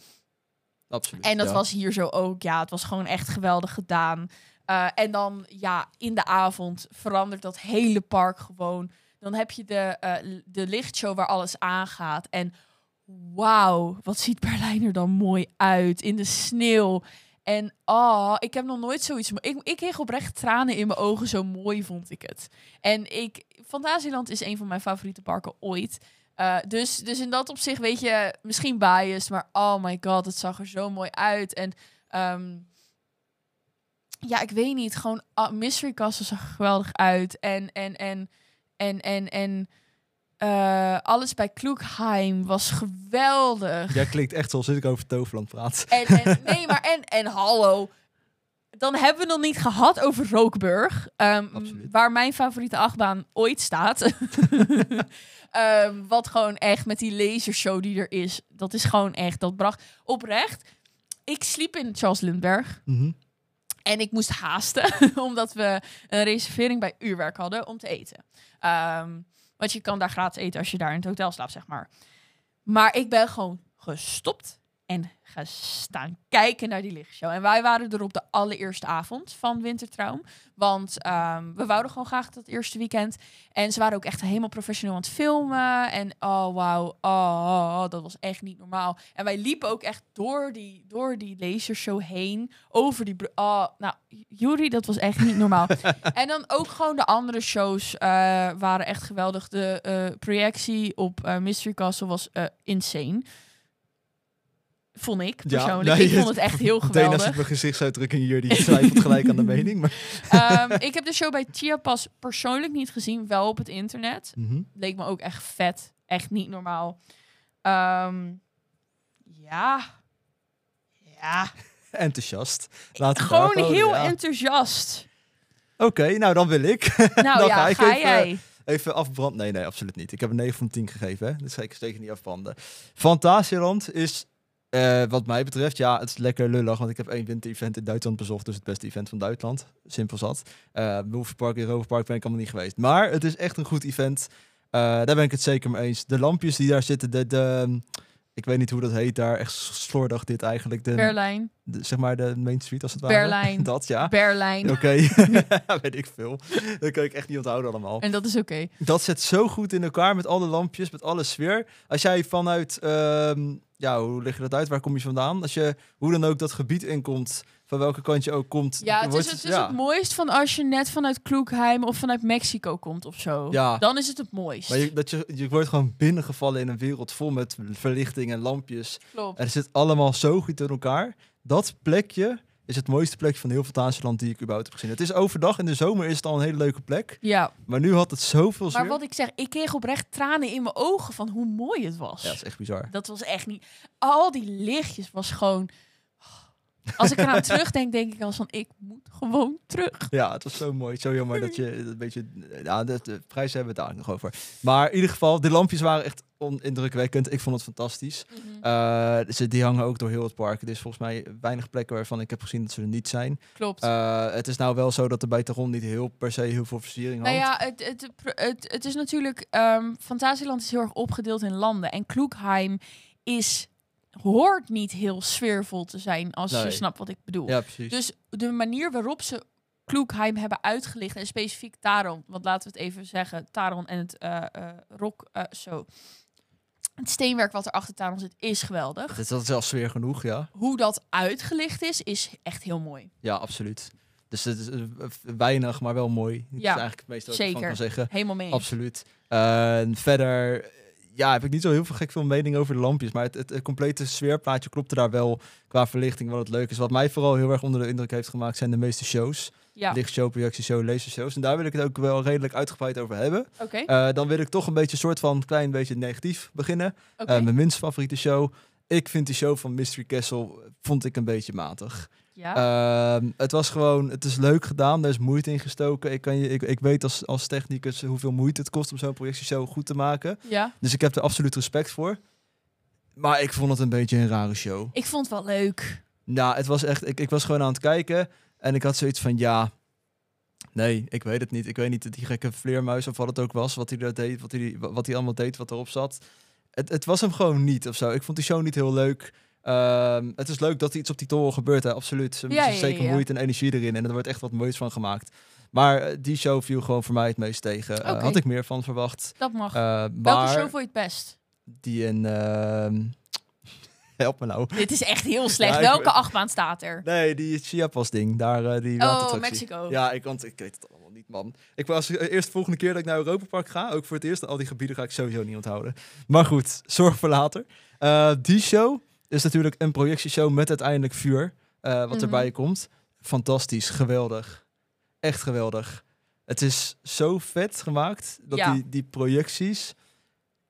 Absoluut. en dat ja. was hier zo ook. Ja, het was gewoon echt geweldig gedaan. Eh, en dan, ja, in de avond verandert dat hele park gewoon. Dan heb je de, eh, l- de lichtshow waar alles aangaat. En wauw, wat ziet Berlijn er dan mooi uit in de sneeuw. En oh, ik heb nog nooit zoiets. mo- Ik, ik kreeg oprecht tranen in mijn ogen, zo mooi vond ik het. En ik, Fantasieland is een van mijn favoriete parken ooit. Eh, dus, dus in dat opzicht weet je, misschien biased, maar oh my god, het zag er zo mooi uit. En ehm, ja, ik weet niet, gewoon ah, Mystery Castle zag er geweldig uit. En, en, en, en, en, en eh, alles bij Kloekheim was geweldig. Jij klinkt echt zoals ik over Toverland praat. En, en, nee, maar en, en hallo. Dan hebben we nog niet gehad over Rookburg. ehm, Absoluut. waar mijn favoriete achtbaan ooit staat. Ehm, wat gewoon echt met die lasershow die er is. Dat is gewoon echt, dat bracht oprecht. Ik sliep in Charles Lindbergh. Mhm. En ik moest haasten, omdat we een reservering bij Uurwerk hadden om te eten. Ehm, want je kan daar gratis eten als je daar in het hotel slaapt, zeg maar. Maar ik ben gewoon gestopt en gaan staan kijken naar die lichtshow. En wij waren er op de allereerste avond van Wintertraum. Want ehm, we wouden gewoon graag dat eerste weekend. En ze waren ook echt helemaal professioneel aan het filmen. En oh, wauw. Oh, oh, oh, dat was echt niet normaal. En wij liepen ook echt door die, door die lasershow heen. Over die... br- Oh, nou, Juri, dat was echt niet normaal. en dan ook gewoon de andere shows eh, waren echt geweldig. De eh, projectie op eh, Mystery Castle was eh, insane. Vond ik persoonlijk. nee, ik vond het echt heel Dana geweldig. ziet mijn gezichtsuitdrukking hier, die twijfelt gelijk aan de mening. Maar... Ehm, ik heb de show bij Chia pas persoonlijk niet gezien, wel op het internet. Mhm. Leek me ook echt vet. Echt niet normaal. Ehm, ja. Ja. Enthousiast. Laten we Gewoon daarop houden, heel ja. enthousiast. Oké, nou dan wil ik. Nou Dan ga ja, ga, ik even- eh, jij. Even afbranden. Nee, nee, absoluut niet. Ik heb een 9 van 10 gegeven. Hè? Dus ga ik zeker niet afbranden. Fantasieland is, eh, wat mij betreft, ja, het is lekker lullig. Want ik heb één winter-event in Duitsland bezocht. Dus het beste event van Duitsland. Simpel zat. Eh Movie Park, Europa Park ben ik allemaal niet geweest. Maar het is echt een goed event. Eh, daar ben ik het zeker mee eens. De lampjes die daar zitten, de... de ik weet niet hoe dat heet daar. Echt slordig dit eigenlijk. De, Berlijn. de- zeg maar de Main Street als het ware. Berlijn. Dat, ja. Berlijn. Oké, weet ik veel. Dat kan ik echt niet onthouden allemaal. En dat is oké. Dat zit zo goed in elkaar met alle lampjes, met alle sfeer. Als jij vanuit, ehm, ja, hoe leg je dat uit? Waar kom je vandaan? Als je hoe dan ook dat gebied inkomt, van welke kant je ook komt. Ja, het wordt is, het, is ja. het mooist van als je net vanuit Kloekheim of vanuit Mexico komt of zo. Ja. Dan is het het mooist. Maar je, dat je, je wordt gewoon binnengevallen in een wereld vol met verlichting en lampjes. Klopt. Er zit allemaal zo goed in elkaar. Dat plekje is het mooiste plekje van heel Fantasieland die ik überhaupt heb gezien. Het is overdag, in de zomer is het al een hele leuke plek. Ja. Maar nu had het zoveel sfeer. Maar wat ik zeg, ik kreeg oprecht tranen in mijn ogen van hoe mooi het was. Ja, dat is echt bizar. Dat was echt niet. Al die lichtjes was gewoon. Oh. Als ik eraan terugdenk, denk ik als van ik moet gewoon terug. Ja, het was zo mooi. Zo jammer dat je een beetje... Ja, de, de prijzen hebben we het daar nog over. Maar in ieder geval, de lampjes waren echt on- indrukwekkend. Ik vond het fantastisch. Mhm. Eh, ze, die hangen ook door heel het park. Er is volgens mij weinig plekken waarvan ik heb gezien dat ze er niet zijn. Klopt. Eh, het is nou wel zo dat er bij Taron niet heel per se heel veel versiering hangt. nou ja, het, het, het, het is natuurlijk. ehm Fantasieland is heel erg opgedeeld in landen. En Kloekheim is, hoort niet heel sfeervol te zijn, als Nee. je snapt wat ik bedoel. Ja, precies. Dus de manier waarop ze Kloekheim hebben uitgelicht en specifiek Taron, want laten we het even zeggen, Taron en het eh, eh, rok, eh, zo. Het steenwerk wat er achter Taron zit is geweldig. Het is dat is zelfs sfeer genoeg, ja. Hoe dat uitgelicht is, is echt heel mooi. Ja, absoluut. Dus het is eh, weinig, maar wel mooi. Dat is Ja, eigenlijk het meeste wat ik ervan zeker. kan zeggen. Helemaal mee. eens. Absoluut. Eh, en verder eh, ja, heb ik niet zo heel veel gek veel mening over de lampjes. Maar het, het, het complete sfeerplaatje klopte daar wel qua verlichting wat het leuk is. Wat mij vooral heel erg onder de indruk heeft gemaakt zijn de meeste shows. Ja, Lichtshow, projectieshow, lasershows. En daar wil ik het ook wel redelijk uitgebreid over hebben. oké. Eh, dan wil ik toch een beetje een soort van klein beetje negatief beginnen. oké. Eh, mijn minst favoriete show. Ik vind die show van Mystery Castle eh, vond ik een beetje matig. ja. Ehm, het was gewoon, het is leuk gedaan, er is moeite in gestoken. Ik, kan je, ik, ik weet als, als technicus hoeveel moeite het kost om zo'n projectie zo goed te maken. ja. Dus ik heb er absoluut respect voor. Maar ik vond het een beetje een rare show. Ik vond het wel leuk. Nou, het was echt. Ik, ik was gewoon aan het kijken en ik had zoiets van ja. Nee, ik weet het niet. Ik weet niet die gekke vleermuis of wat het ook was, wat hij daar deed, wat hij, wat hij allemaal deed, wat erop zat. Het, het was hem gewoon niet of zo. Ik vond die show niet heel leuk. Ehm, het is leuk dat er iets op die toren gebeurt, hè, absoluut. Ze Ja, ja, ja, ja, zeker ja. moeite en energie erin en er wordt echt wat moois van gemaakt. Maar eh, die show viel gewoon voor mij het meest tegen. Eh, Oké. had ik meer van verwacht. Dat mag. Eh, Welke maar show vond je het best? die in... ehm, help me nou. Dit is echt heel slecht. Ja, ik- Welke achtbaan staat er? Nee, die Chiapas ding. Daar, eh, die Oh, waterattractie. Mexico. Ja, ik, want ik weet het allemaal niet, man. Ik was eh, eerst de volgende keer dat ik naar Europa Park ga, ook voor het eerst, al die gebieden ga ik sowieso niet onthouden. Maar goed, zorg voor later. Eh, die show is natuurlijk een projectieshow met uiteindelijk vuur, eh, wat Mhm. erbij komt. Fantastisch, geweldig. Echt geweldig. Het is zo vet gemaakt, dat Ja. die, die projecties...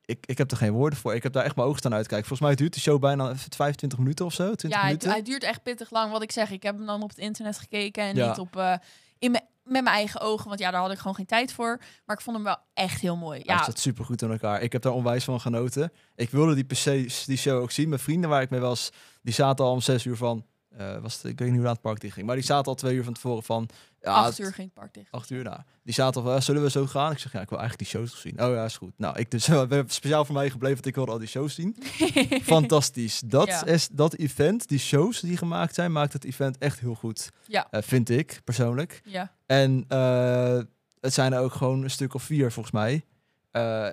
Ik, ik heb er geen woorden voor. Ik heb daar echt mijn ogen staan uitkijken. Volgens mij duurt de show bijna 25 minuten of zo. 20 Ja, het, minuten. hij duurt echt pittig lang. Wat ik zeg, ik heb hem dan op het internet gekeken en Ja. niet op, eh, in mijn- met mijn eigen ogen. Want ja, daar had ik gewoon geen tijd voor. Maar ik vond hem wel echt heel mooi. Ja. Het Ja, zat supergoed aan elkaar. Ik heb daar onwijs van genoten. Ik wilde die, per se, die show ook zien. Mijn vrienden waar ik mee was, die zaten al om zes uur van... eh, was het, ik weet niet hoe laat het park dicht ging. Maar die zaten al twee uur van tevoren van... Ja, acht het- uur ging het park dicht. Acht uur, nou. Die zaten al van, ja, zullen we zo gaan? Ik zeg, ja, ik wil eigenlijk die shows toch zien. Oh ja, is goed. Nou, ik dus, we hebben speciaal voor mij gebleven, want ik wilde al die shows zien. Fantastisch. Dat, Ja. is, dat event, die shows die gemaakt zijn, maakt het event echt heel goed. Ja. Eh, vind ik, persoonlijk. ja. En eh, het zijn er ook gewoon een stuk of vier, volgens mij. Eh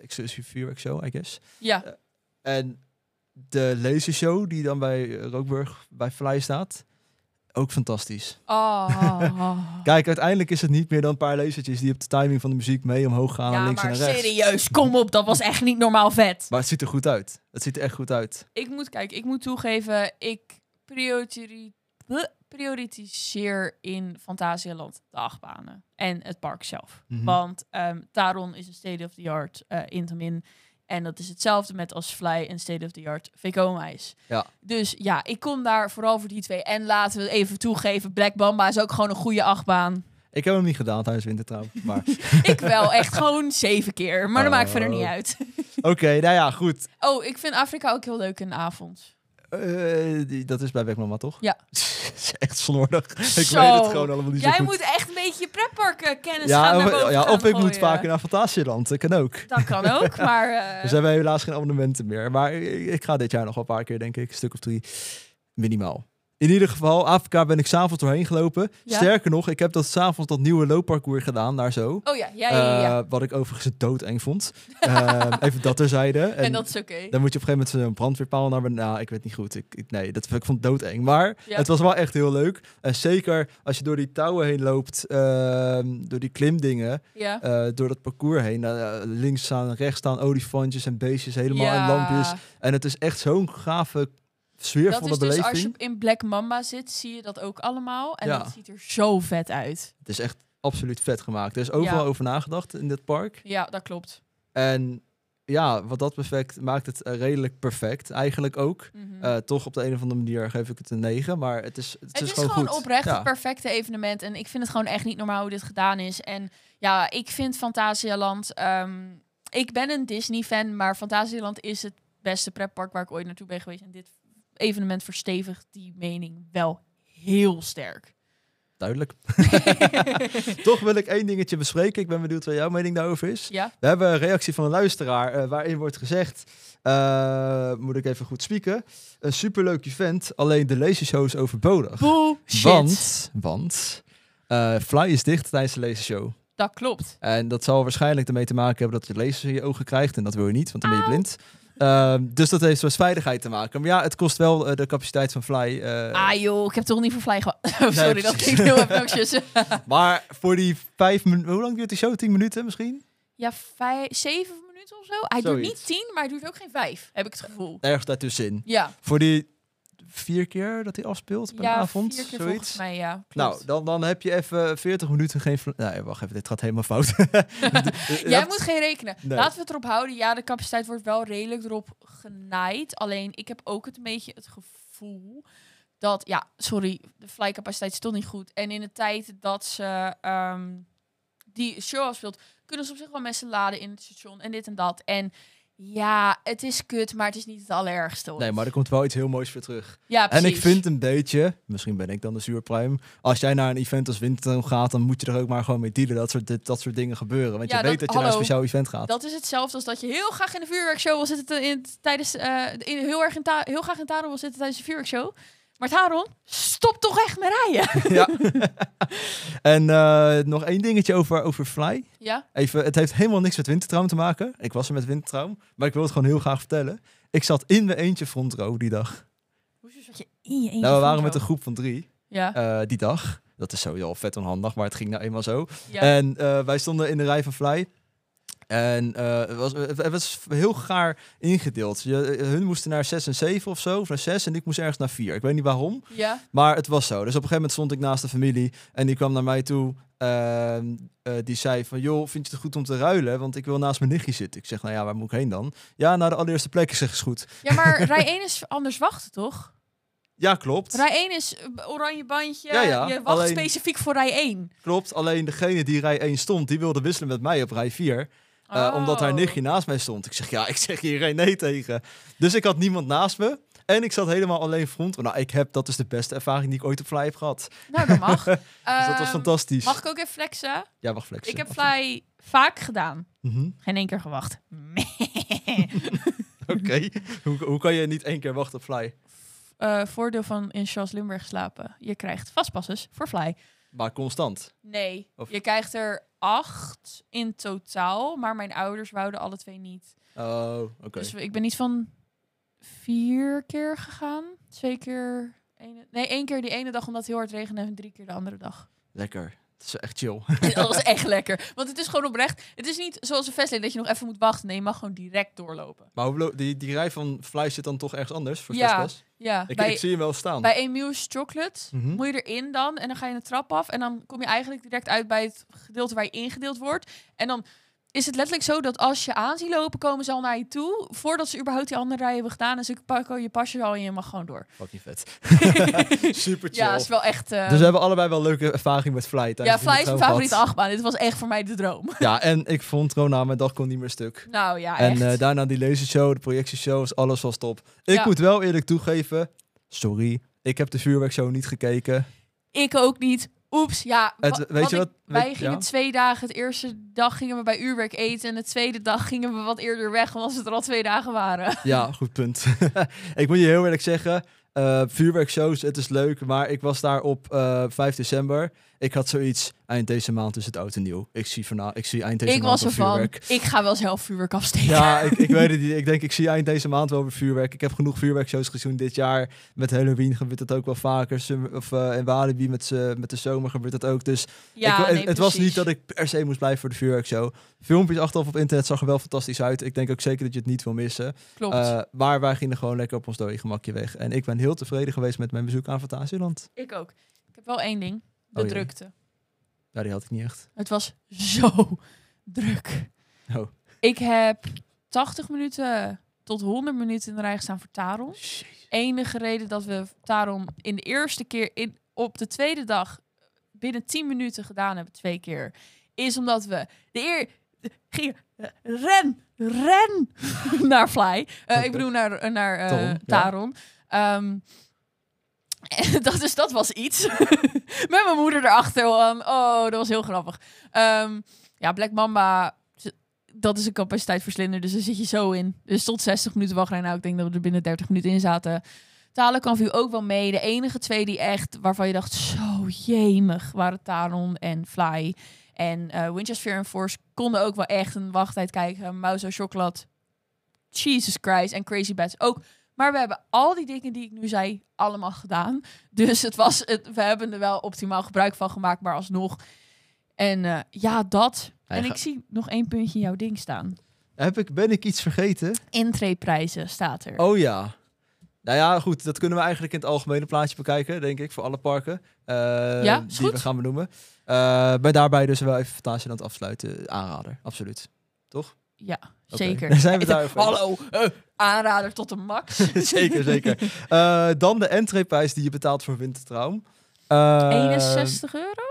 Exclusive vuurwerk show, I guess. ja, En de lasershow die dan bij eh, Rookburg, bij Fly staat, ook fantastisch. Oh. Kijk, uiteindelijk is het niet meer dan een paar lasertjes die op de timing van de muziek mee omhoog gaan, ja, naar links en maar naar rechts. serieus, kom op, dat was echt niet normaal vet. Maar het ziet er goed uit. Het ziet er echt goed uit. Ik moet kijken, ik moet toegeven, ik priori- huh? prioritiseer in Fantasialand de achtbanen en het park zelf. Mhm. Want ehm Taron is een state-of-the-art eh Intamin. En dat is hetzelfde met als Fly en state-of-the-art VK-meis. Ja. Dus ja, ik kom daar vooral voor die twee. En laten we even toegeven, Black Bamba is ook gewoon een goede achtbaan. Ik heb hem niet gedaan tijdens wintertrouw. Maar ik wel, echt gewoon zeven keer. Maar dat maakt verder niet Oh. uit. oké, nou ja, goed. Oh, ik vind Afrika ook heel leuk in de avond. Eh, die- dat is bij Wekmama, toch? Ja. is echt slordig. Ik Zo. weet het gewoon allemaal niet zo Jij goed. moet echt een beetje pretparken kennis ja, Dus gaan naar of, boven ja, gaan of ik moet gooien. vaker naar Fantasieland. Dat kan ook. Dat kan ook, maar... eh, Dus hebben we helaas geen abonnementen meer. Maar ik, ik ga dit jaar nog wel een paar keer, denk ik. Een stuk of drie. Minimaal. In ieder geval, Afrika ben ik s'avonds doorheen gelopen. Ja. Sterker nog, ik heb dat s'avonds dat nieuwe loopparcours gedaan, daar zo. Oh ja, ja, ja, ja, ja. Eh, wat ik overigens doodeng vond. Eh, even dat terzijde. En, en dat is oké. dan moet je op een gegeven moment zo'n brandweerpaal naar beneden. Nou, ik weet niet goed. Ik, ik- nee, dat, ik vond het doodeng. Maar Ja. het was wel echt heel leuk. En zeker als je door die touwen heen loopt, ehm, door die klimdingen Ja. eh, door dat parcours heen. Nou, eh, links staan, rechts staan olifantjes en beestjes helemaal in lampjes. En het is echt zo'n gave Dat sfeervolle is dus als je beleving. in Black Mamba zit, zie je dat ook allemaal. En Ja. dat ziet er zo vet uit. Het is echt absoluut vet gemaakt. Er is overal Ja. over nagedacht in dit park. Ja, dat klopt. En ja, wat dat perfect maakt het eh, redelijk perfect eigenlijk ook. Mhm. Eh, toch op de een of andere manier geef ik het een 9, maar het is, het Het is, is, gewoon, goed. oprecht Ja. het perfecte evenement. En ik vind het gewoon echt niet normaal hoe dit gedaan is. En ja, ik vind Fantasialand... ehm, ik ben een Disney-fan, maar Fantasialand is het beste pretpark waar ik ooit naartoe ben geweest. En dit evenement verstevigt die mening wel heel sterk. Duidelijk. Toch wil ik één dingetje bespreken. Ik ben benieuwd wat jouw mening daarover is. ja? We hebben een reactie van een luisteraar eh, waarin wordt gezegd, eh, moet ik even goed spieken, een superleuk event, alleen de lasershow is overbodig. Bullshit. Want, want eh, Fly is dicht tijdens de lasershow. Dat klopt. En dat zal waarschijnlijk ermee te maken hebben dat je lasers in je ogen krijgt en dat wil je niet, want dan ben je blind. Ehm, dus dat heeft met veiligheid te maken. Maar ja, het kost wel eh, de capaciteit van Fly. eh, ah joh, ik heb toch niet voor Fly gehad. Oh, Sorry, dat precies. klinkt heel obnoxious. Maar voor die vijf minuten, hoe lang duurt die show? Tien minuten misschien? Ja, vijf, zeven minuten of zo. Hij Zoiets. doet niet tien, maar hij doet ook geen vijf, heb ik het gevoel. Ergens daartussenin. Ja, Voor die vier keer dat hij afspeelt op een ja avond? vier keer zoiets. volgens mij, ja. klopt. Nou, dan, dan heb je even 40 minuten geen... vla- Nee, wacht even, dit gaat helemaal fout. Jij moet geen rekenen. Nee. Laten we het erop houden. Ja, de capaciteit wordt wel redelijk erop genaaid. Alleen, ik heb ook het een beetje het gevoel dat... Ja, sorry, de flycapaciteit is toch niet goed. En in de tijd dat ze ehm, die show afspeelt... kunnen ze op zich wel mensen laden in het station en dit en dat. En Ja, het is kut, maar het is niet het allerergste. hoor. Nee, maar er komt wel iets heel moois voor terug. ja, En precies. ik vind een beetje, misschien ben ik dan de zuurpruim. Als jij naar een event als Wintertoon gaat, dan moet je er ook maar gewoon mee dealen dat soort, dit, dat soort dingen gebeuren. Want Ja, je weet dat, dat- je naar een hallo. speciaal event gaat. Dat is hetzelfde als dat je heel graag in de vuurwerkshow wil zitten in, tijdens eh, in, heel erg in ta- heel graag in Taron wil zitten tijdens de vuurwerkshow. Maar Taron, stop toch echt met rijden. ja. en eh, nog één dingetje over, over Fly. Ja, Even, het heeft helemaal niks met wintertraum te maken. Ik was er met wintertraum, maar ik wil het gewoon heel graag vertellen. Ik zat in mijn eentje front row die dag. hoezo zat je in je eentje? nou, we waren voor met zo? een groep van drie Ja, eh, die dag. Dat is sowieso al vet onhandig, maar het ging nou eenmaal zo. ja. En eh, wij stonden in de rij van Fly. En eh, het, was, het was heel gaar ingedeeld. Je, eh, hun moesten naar 6 en 7 of zo, of naar 6 en ik moest ergens naar 4. Ik weet niet waarom. ja. Maar het was zo. Dus op een gegeven moment stond ik naast de familie en die kwam naar mij toe. ehm, eh, die zei van, joh, vind je het goed om te ruilen? Want ik wil naast mijn nichtje zitten. Ik zeg, nou ja, waar moet ik heen dan? Ja, naar de allereerste plek is is goed. ja, maar rij 1 is anders wachten, toch? Ja, klopt. Rij 1 is eh, oranje bandje. Ja, ja, Je wacht alleen- specifiek voor rij 1. Klopt, alleen degene die rij 1 stond, die wilde wisselen met mij op rij 4. eh, Omdat Oh. haar nichtje naast mij stond. Ik zeg, ja, ik zeg hier geen nee tegen. Dus ik had niemand naast me. En ik zat helemaal alleen front. Nou, ik heb, dat is de beste ervaring die ik ooit op Fly heb gehad. Nou, dat mag. Ehm, dus dat was fantastisch. Mag ik ook even flexen? Ja, mag flexen. Ik heb Fly vaak gedaan. Mhm. Geen één keer gewacht. Oké, hoe, hoe kan je niet één keer wachten op Fly? Eh, voordeel van in Charles Limburg slapen. Je krijgt vastpassers voor Fly. Maar constant. Nee, Of- je krijgt er acht in totaal. Maar mijn ouders wouden alle twee niet. Oh, oké. Dus ik ben niet van vier keer gegaan. Twee keer... ene- nee, één keer die ene dag omdat het heel hard regende en drie keer de andere dag. Lekker. Het is echt chill. dat was echt lekker. Want het is gewoon oprecht. Het is niet zoals een vestlijn dat je nog even moet wachten. Nee, je mag gewoon direct doorlopen. Maar hoe lo- die, die rij van Fly zit dan toch ergens anders voor Ja, Fastpass? Ja, Ik, bij, ik zie hem wel staan. bij Emil's Chocolate Mhm. moet je erin dan. En dan ga je de trap af. En dan kom je eigenlijk direct uit bij het gedeelte waar je ingedeeld wordt. En dan is het letterlijk zo dat als je aan ziet lopen, komen ze al naar je toe. Voordat ze überhaupt die andere rij hebben gedaan. En ze pakken je pasje al en je mag gewoon door. Fucking vet. Super chill. Ja, is wel echt... eh, dus we hebben allebei wel leuke ervaring met Fly. tijdens ja, die Fly is mijn trouwbad. favoriete achtbaan. Dit was echt voor mij de droom. Ja, en ik vond Rona, mijn dag kon niet meer stuk. Nou ja, En echt. eh, daarna die lasershow, de projectieshows, alles was top. Ik Ja. moet wel eerlijk toegeven, sorry, ik heb de vuurwerkshow niet gekeken. Ik ook niet. Oeps, ja. Het- wa- weet je ik- wat- wij weet- gingen ja. twee dagen. De eerste dag gingen we bij uurwerk eten. En de tweede dag gingen we wat eerder weg. Omdat we er al twee dagen waren. Ja, goed punt. ik moet je heel eerlijk zeggen, eh, vuurwerkshows, het is leuk, maar ik was daar op eh, 5 december. Ik had zoiets, eind deze maand is het oud en nieuw. Ik zie, vanaf, ik zie eind deze ik maand was wel ervan. vuurwerk. Ik ga wel zelf vuurwerk afsteken. Ja, ik, ik weet het niet. Ik denk, ik zie eind deze maand wel weer vuurwerk. Ik heb genoeg vuurwerkshows gezien dit jaar. Met Halloween gebeurt het ook wel vaker. Summer- of, eh, en Walibi met, z'n- met de zomer gebeurt dat ook. Dus Ja, Ik wou- het- nee, het was precies. niet dat ik per se moest blijven voor de vuurwerkshow. Filmpjes achteraf op internet zag er wel fantastisch uit. Ik denk ook zeker dat je het niet wil missen. Klopt. Eh, maar wij gingen gewoon lekker op ons dode gemakje weg. En ik ben heel tevreden geweest met mijn bezoek aan Fantasieland. ik ook. Ik heb wel één ding. De Oh jee. drukte. Ja, die had ik niet echt. Het was zo druk. Oh. Ik heb 80 minuten tot 100 minuten in de rij gestaan voor Taron. Enige reden dat we Taron in de eerste keer in, op de tweede dag binnen 10 minuten gedaan hebben, twee keer, is omdat we de eer gingen eh, ren, ren naar Fly. Eh, Oké. Ik bedoel naar, eh, naar eh, Taron, ja. Taron. Ehm, en dat, dus dat was iets. Met mijn moeder erachter. man. Oh, dat was heel grappig. Ehm, ja, Black Mamba, ze- dat is een capaciteitverslinder. Dus daar zit je zo in. Dus tot 60 minuten wachtrij. Nou, ik denk dat we er binnen 30 minuten in zaten. Talen kan viel ook wel mee. De enige twee die echt, waarvan je dacht, zo jemig, waren Talon en Fly. En eh Winchester en Force konden ook wel echt een wachttijd kijken. Mauzo Chocolate, Jesus Christ en Crazy Bats ook. Maar we hebben al die dingen die ik nu zei, allemaal gedaan. Dus het was het, we hebben er wel optimaal gebruik van gemaakt, maar alsnog. En eh, ja, dat. En Eigen- ik zie nog één puntje in jouw ding staan. Heb ik, ben ik iets vergeten? Intreeprijzen staat er. Oh ja. Nou ja, goed, dat kunnen we eigenlijk in het algemene plaatje bekijken, denk ik, voor alle parken. eh, Ja, is die goed. we gaan benoemen. Eh, maar daarbij dus wel even Fantasieland afsluiten. Aanrader, absoluut. Ja, Oké. zeker. Dan zijn we daar over eens. Hallo, eh, aanrader tot de max. zeker, zeker. Ehm, Eh, dan de entreeprijs die je betaalt voor Wintertraum. Eh, 61 euro?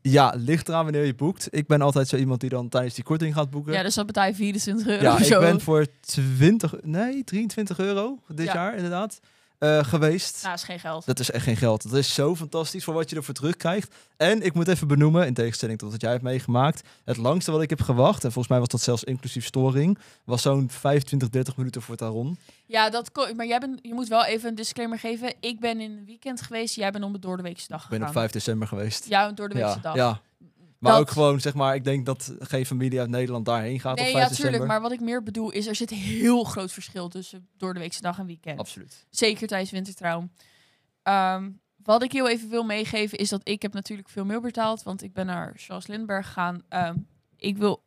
Ja, ligt eraan wanneer je boekt. Ik ben altijd zo iemand die dan tijdens die korting gaat boeken. Ja, dus dat betaal je 24 euro Ja, of zo. ik ben voor 20, nee, 23 euro dit Ja. jaar inderdaad eh, geweest. Nou, is geen geld. Dat is echt geen geld. Dat is zo fantastisch voor wat je ervoor terugkrijgt. En ik moet even benoemen, in tegenstelling tot wat jij hebt meegemaakt, het langste wat ik heb gewacht, en volgens mij was dat zelfs inclusief storing, was zo'n 25, 30 minuten voor Taron. Ja, dat kon, maar jij bent, je moet wel even een disclaimer geven. Ik ben in een weekend geweest, jij bent om de doordeweekse dag Ik ben gegaan. op 5 december geweest. Ja, een doordeweekse ja, dag. ja. Maar Dat- ook gewoon, zeg maar, ik denk dat geen familie uit Nederland daarheen gaat op Nee, 5 ja, december. tuurlijk. Maar wat ik meer bedoel is, er zit een heel groot verschil tussen doordeweekse dag en weekend. Absoluut. Zeker tijdens wintertrouw. Ehm, wat ik heel even wil meegeven is dat ik heb natuurlijk veel meer betaald. Want ik ben naar Charles Lindbergh gegaan. Ehm, ik wil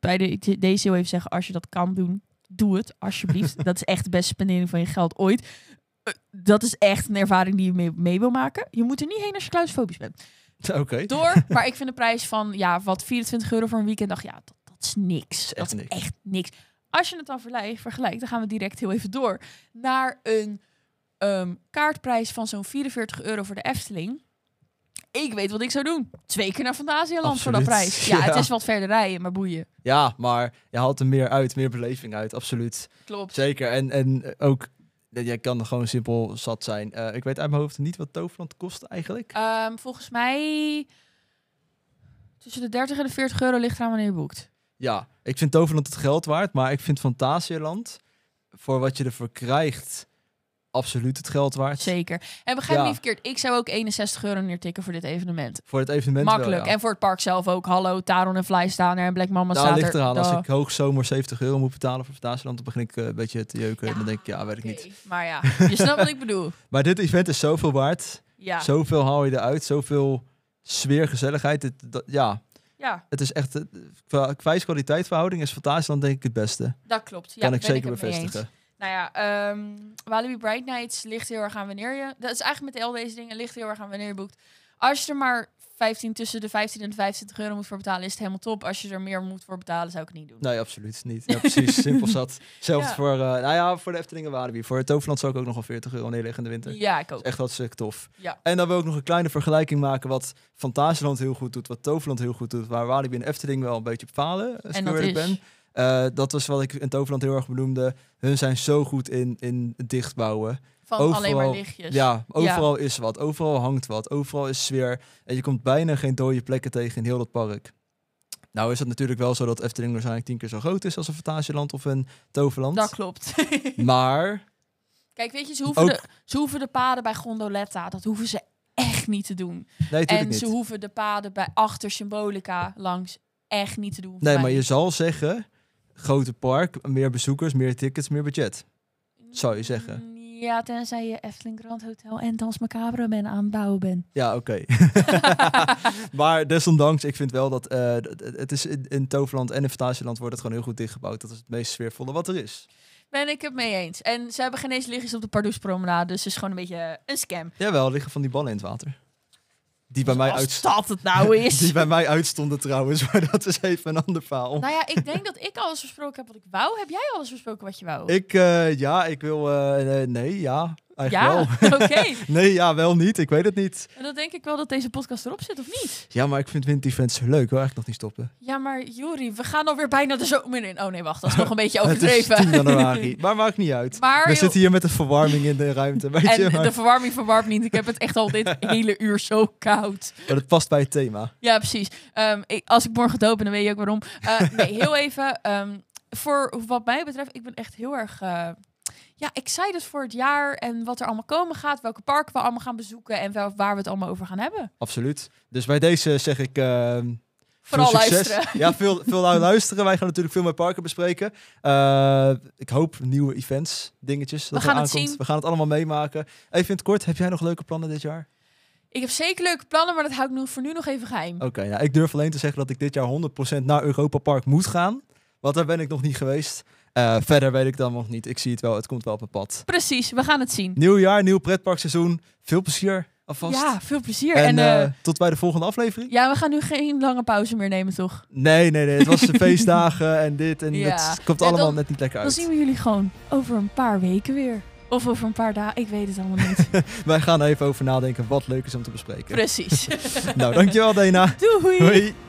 bij de, deze heel even zeggen, als je dat kan doen, doe het alsjeblieft. dat is echt de beste spendering van je geld ooit. Eh, Dat is echt een ervaring die je mee, mee wil maken. Je moet er niet heen als je claustrofobisch bent. Oké. Door, maar ik vind de prijs van ja, wat 24 euro voor een weekend. Dacht ja, dat, dat is niks. echt Dat is niks. echt niks. Als je het dan vergelijkt, vergelijkt, dan gaan we direct heel even door naar een ehm, kaartprijs van zo'n 44 euro voor de Efteling. Ik weet wat ik zou doen. Twee keer naar Fantasialand voor dat Absoluut. prijs. Ja, Ja. het is wat verder rijden, maar boeien. Ja, maar je haalt er meer uit, meer beleving uit, absoluut. Klopt. Zeker. En, en ook, ja, jij kan er gewoon simpel zat zijn. Eh, ik weet uit mijn hoofd niet wat Toverland kost eigenlijk. Ehm, volgens mij tussen de 30 en de 40 euro ligt eraan wanneer je boekt. Ja, ik vind Toverland het geld waard, maar ik vind Fantasieland, voor wat je ervoor krijgt, absoluut het geld waard. Zeker. En begrijp me Ja. niet verkeerd. Ik zou ook 61 euro neertikken voor dit evenement. Voor het evenement Makkelijk. wel, ja. En voor het park zelf ook. Hallo, Taron en Fly staan er en Black Mama Daar staat ligt eraan. Als Duh. ik hoog zomer 70 euro moet betalen voor Fantasieland, dan begin ik eh, een beetje te jeuken. En dan denk ik, ja, weet ik oké. niet. Maar ja, je snapt wat ik bedoel. Maar dit event is zoveel waard. Ja. Zoveel haal je eruit. Zoveel sfeer, gezelligheid. Het- dat- ja, ja, het is echt... eh, Qua prijs-kwaliteit verhouding is Fantasieland denk ik het beste. dat klopt. Ja, kan ik ben zeker het mee eens. bevestigen. Nou ja, ehm Walibi Bright Nights ligt heel erg aan wanneer je... Dat is eigenlijk met al deze dingen, ligt heel erg aan wanneer je boekt. Als je er maar 15, tussen de 15 en de 25 euro moet voor betalen, is het helemaal top. Als je er meer moet voor betalen, zou ik het niet doen. Nee, absoluut niet. Ja, precies. Simpel zat. Zelfs Ja. voor, eh, nou ja, voor de Eftelingen Walibi. Voor het Toverland zou ik ook nog wel 40 euro neerleggen in de winter. Ja, ik Dat ook. is echt hartstikke tof. Ja. En dan wil ik nog een kleine vergelijking maken wat Fantasieland heel goed doet, wat Toverland heel goed doet, waar Walibi en Efteling wel een beetje op falen, als En ik dat eerlijk is... ben. Eh, dat was wat ik in Toverland heel erg benoemde. Hun zijn zo goed in, in het dichtbouwen. Van alleen maar overal- lichtjes. Ja, overal is wat. Overal hangt wat. Overal is sfeer. En je komt bijna geen dode plekken tegen in heel dat park. Nou is het natuurlijk wel zo dat Efteling waarschijnlijk tien keer zo groot is als een Fantasieland of een Toverland. Dat klopt. Maar Kijk, weet je, ze hoeven, Ook- de, ze hoeven de paden bij Gondoletta, dat hoeven ze echt niet te doen. nee, natuurlijk En niet. ze hoeven de paden bij achter Symbolica langs echt niet te doen. Nee, maar je zal zeggen, grote park, meer bezoekers, meer tickets, meer budget. zou je zeggen. Mm, Ja, tenzij je Efteling Grand Hotel en Dans Macabre ben aan het bouwen bent. Ja, oké. maar desondanks, ik vind wel dat eh, d- d- het is in, in Toverland en in Fantasieland wordt het gewoon heel goed dichtgebouwd. Dat is het meest sfeervolle wat er is. Ben ik het mee eens. En ze hebben geen eens lichtjes op de Pardoes Promenade, dus het is gewoon een beetje eh, een scam. Jawel, er liggen van die ballen in het water. Die bij, mij, Dus Als uit, dat het nou die is. bij mij uitstonden trouwens, maar dat is even een ander verhaal. nou ja, ik denk dat ik alles besproken heb wat ik wou. Heb jij alles besproken wat je wou? Ik, eh, ja, ik wil, eh, eh, nee, ja, eigenlijk ja, wel. oké. Nee, ja, wel niet, ik weet het niet. En dan denk ik wel dat deze podcast erop zit, of niet? Ja, maar ik vind Wind Defense zo leuk, ik wil eigenlijk nog niet stoppen. Ja, maar Juri, we gaan alweer bijna de zomer in. Oh nee, wacht, dat is nog een beetje Het is overdreven. 10 januari, maar maakt niet uit. maar We joh, zitten hier met een verwarming in de ruimte, weet je. en Maar, de verwarming verwarmt niet. Ik heb het echt al dit hele uur zo koud. maar dat past bij het thema. Ja, precies. Ehm, ik- als ik morgen doop ben, dan weet je ook waarom. Eh, nee, heel even. ehm, voor wat mij betreft, ik ben echt heel erg eh ja, excited voor het jaar en wat er allemaal komen gaat. Welke parken we allemaal gaan bezoeken en wel, waar we het allemaal over gaan hebben. Absoluut. Dus bij deze zeg ik... ehm, Vooral veel succes. luisteren. Ja, veel, veel naar luisteren. Wij gaan natuurlijk veel meer parken bespreken. Eh, ik hoop nieuwe events, dingetjes. Dat er gaan het aankomt. zien. We gaan het allemaal meemaken. Even in het kort, heb jij nog leuke plannen dit jaar? Ik heb zeker leuke plannen, maar dat hou ik nu, voor nu nog even geheim. Oké, nou, ik durf alleen te zeggen dat ik dit jaar 100% naar Europa Park moet gaan. Want daar ben ik nog niet geweest. Eh, verder weet ik dan nog niet. Ik zie het wel, het komt wel op mijn pad. Precies, we gaan het zien. Nieuw jaar, nieuw pretparkseizoen. Veel plezier alvast. Ja, veel plezier. En, En, eh, eh, tot bij de volgende aflevering. ja, we gaan nu geen lange pauze meer nemen, toch? Nee, nee, nee. Het was de feestdagen en dit en Ja. het komt En dan- allemaal net niet lekker Dan uit. zien we jullie gewoon over een paar weken weer. Of over een paar dagen, ik weet het allemaal niet. Wij gaan er even over nadenken wat leuk is om te bespreken. Precies. Nou, dankjewel Dena. Doei! Hoi.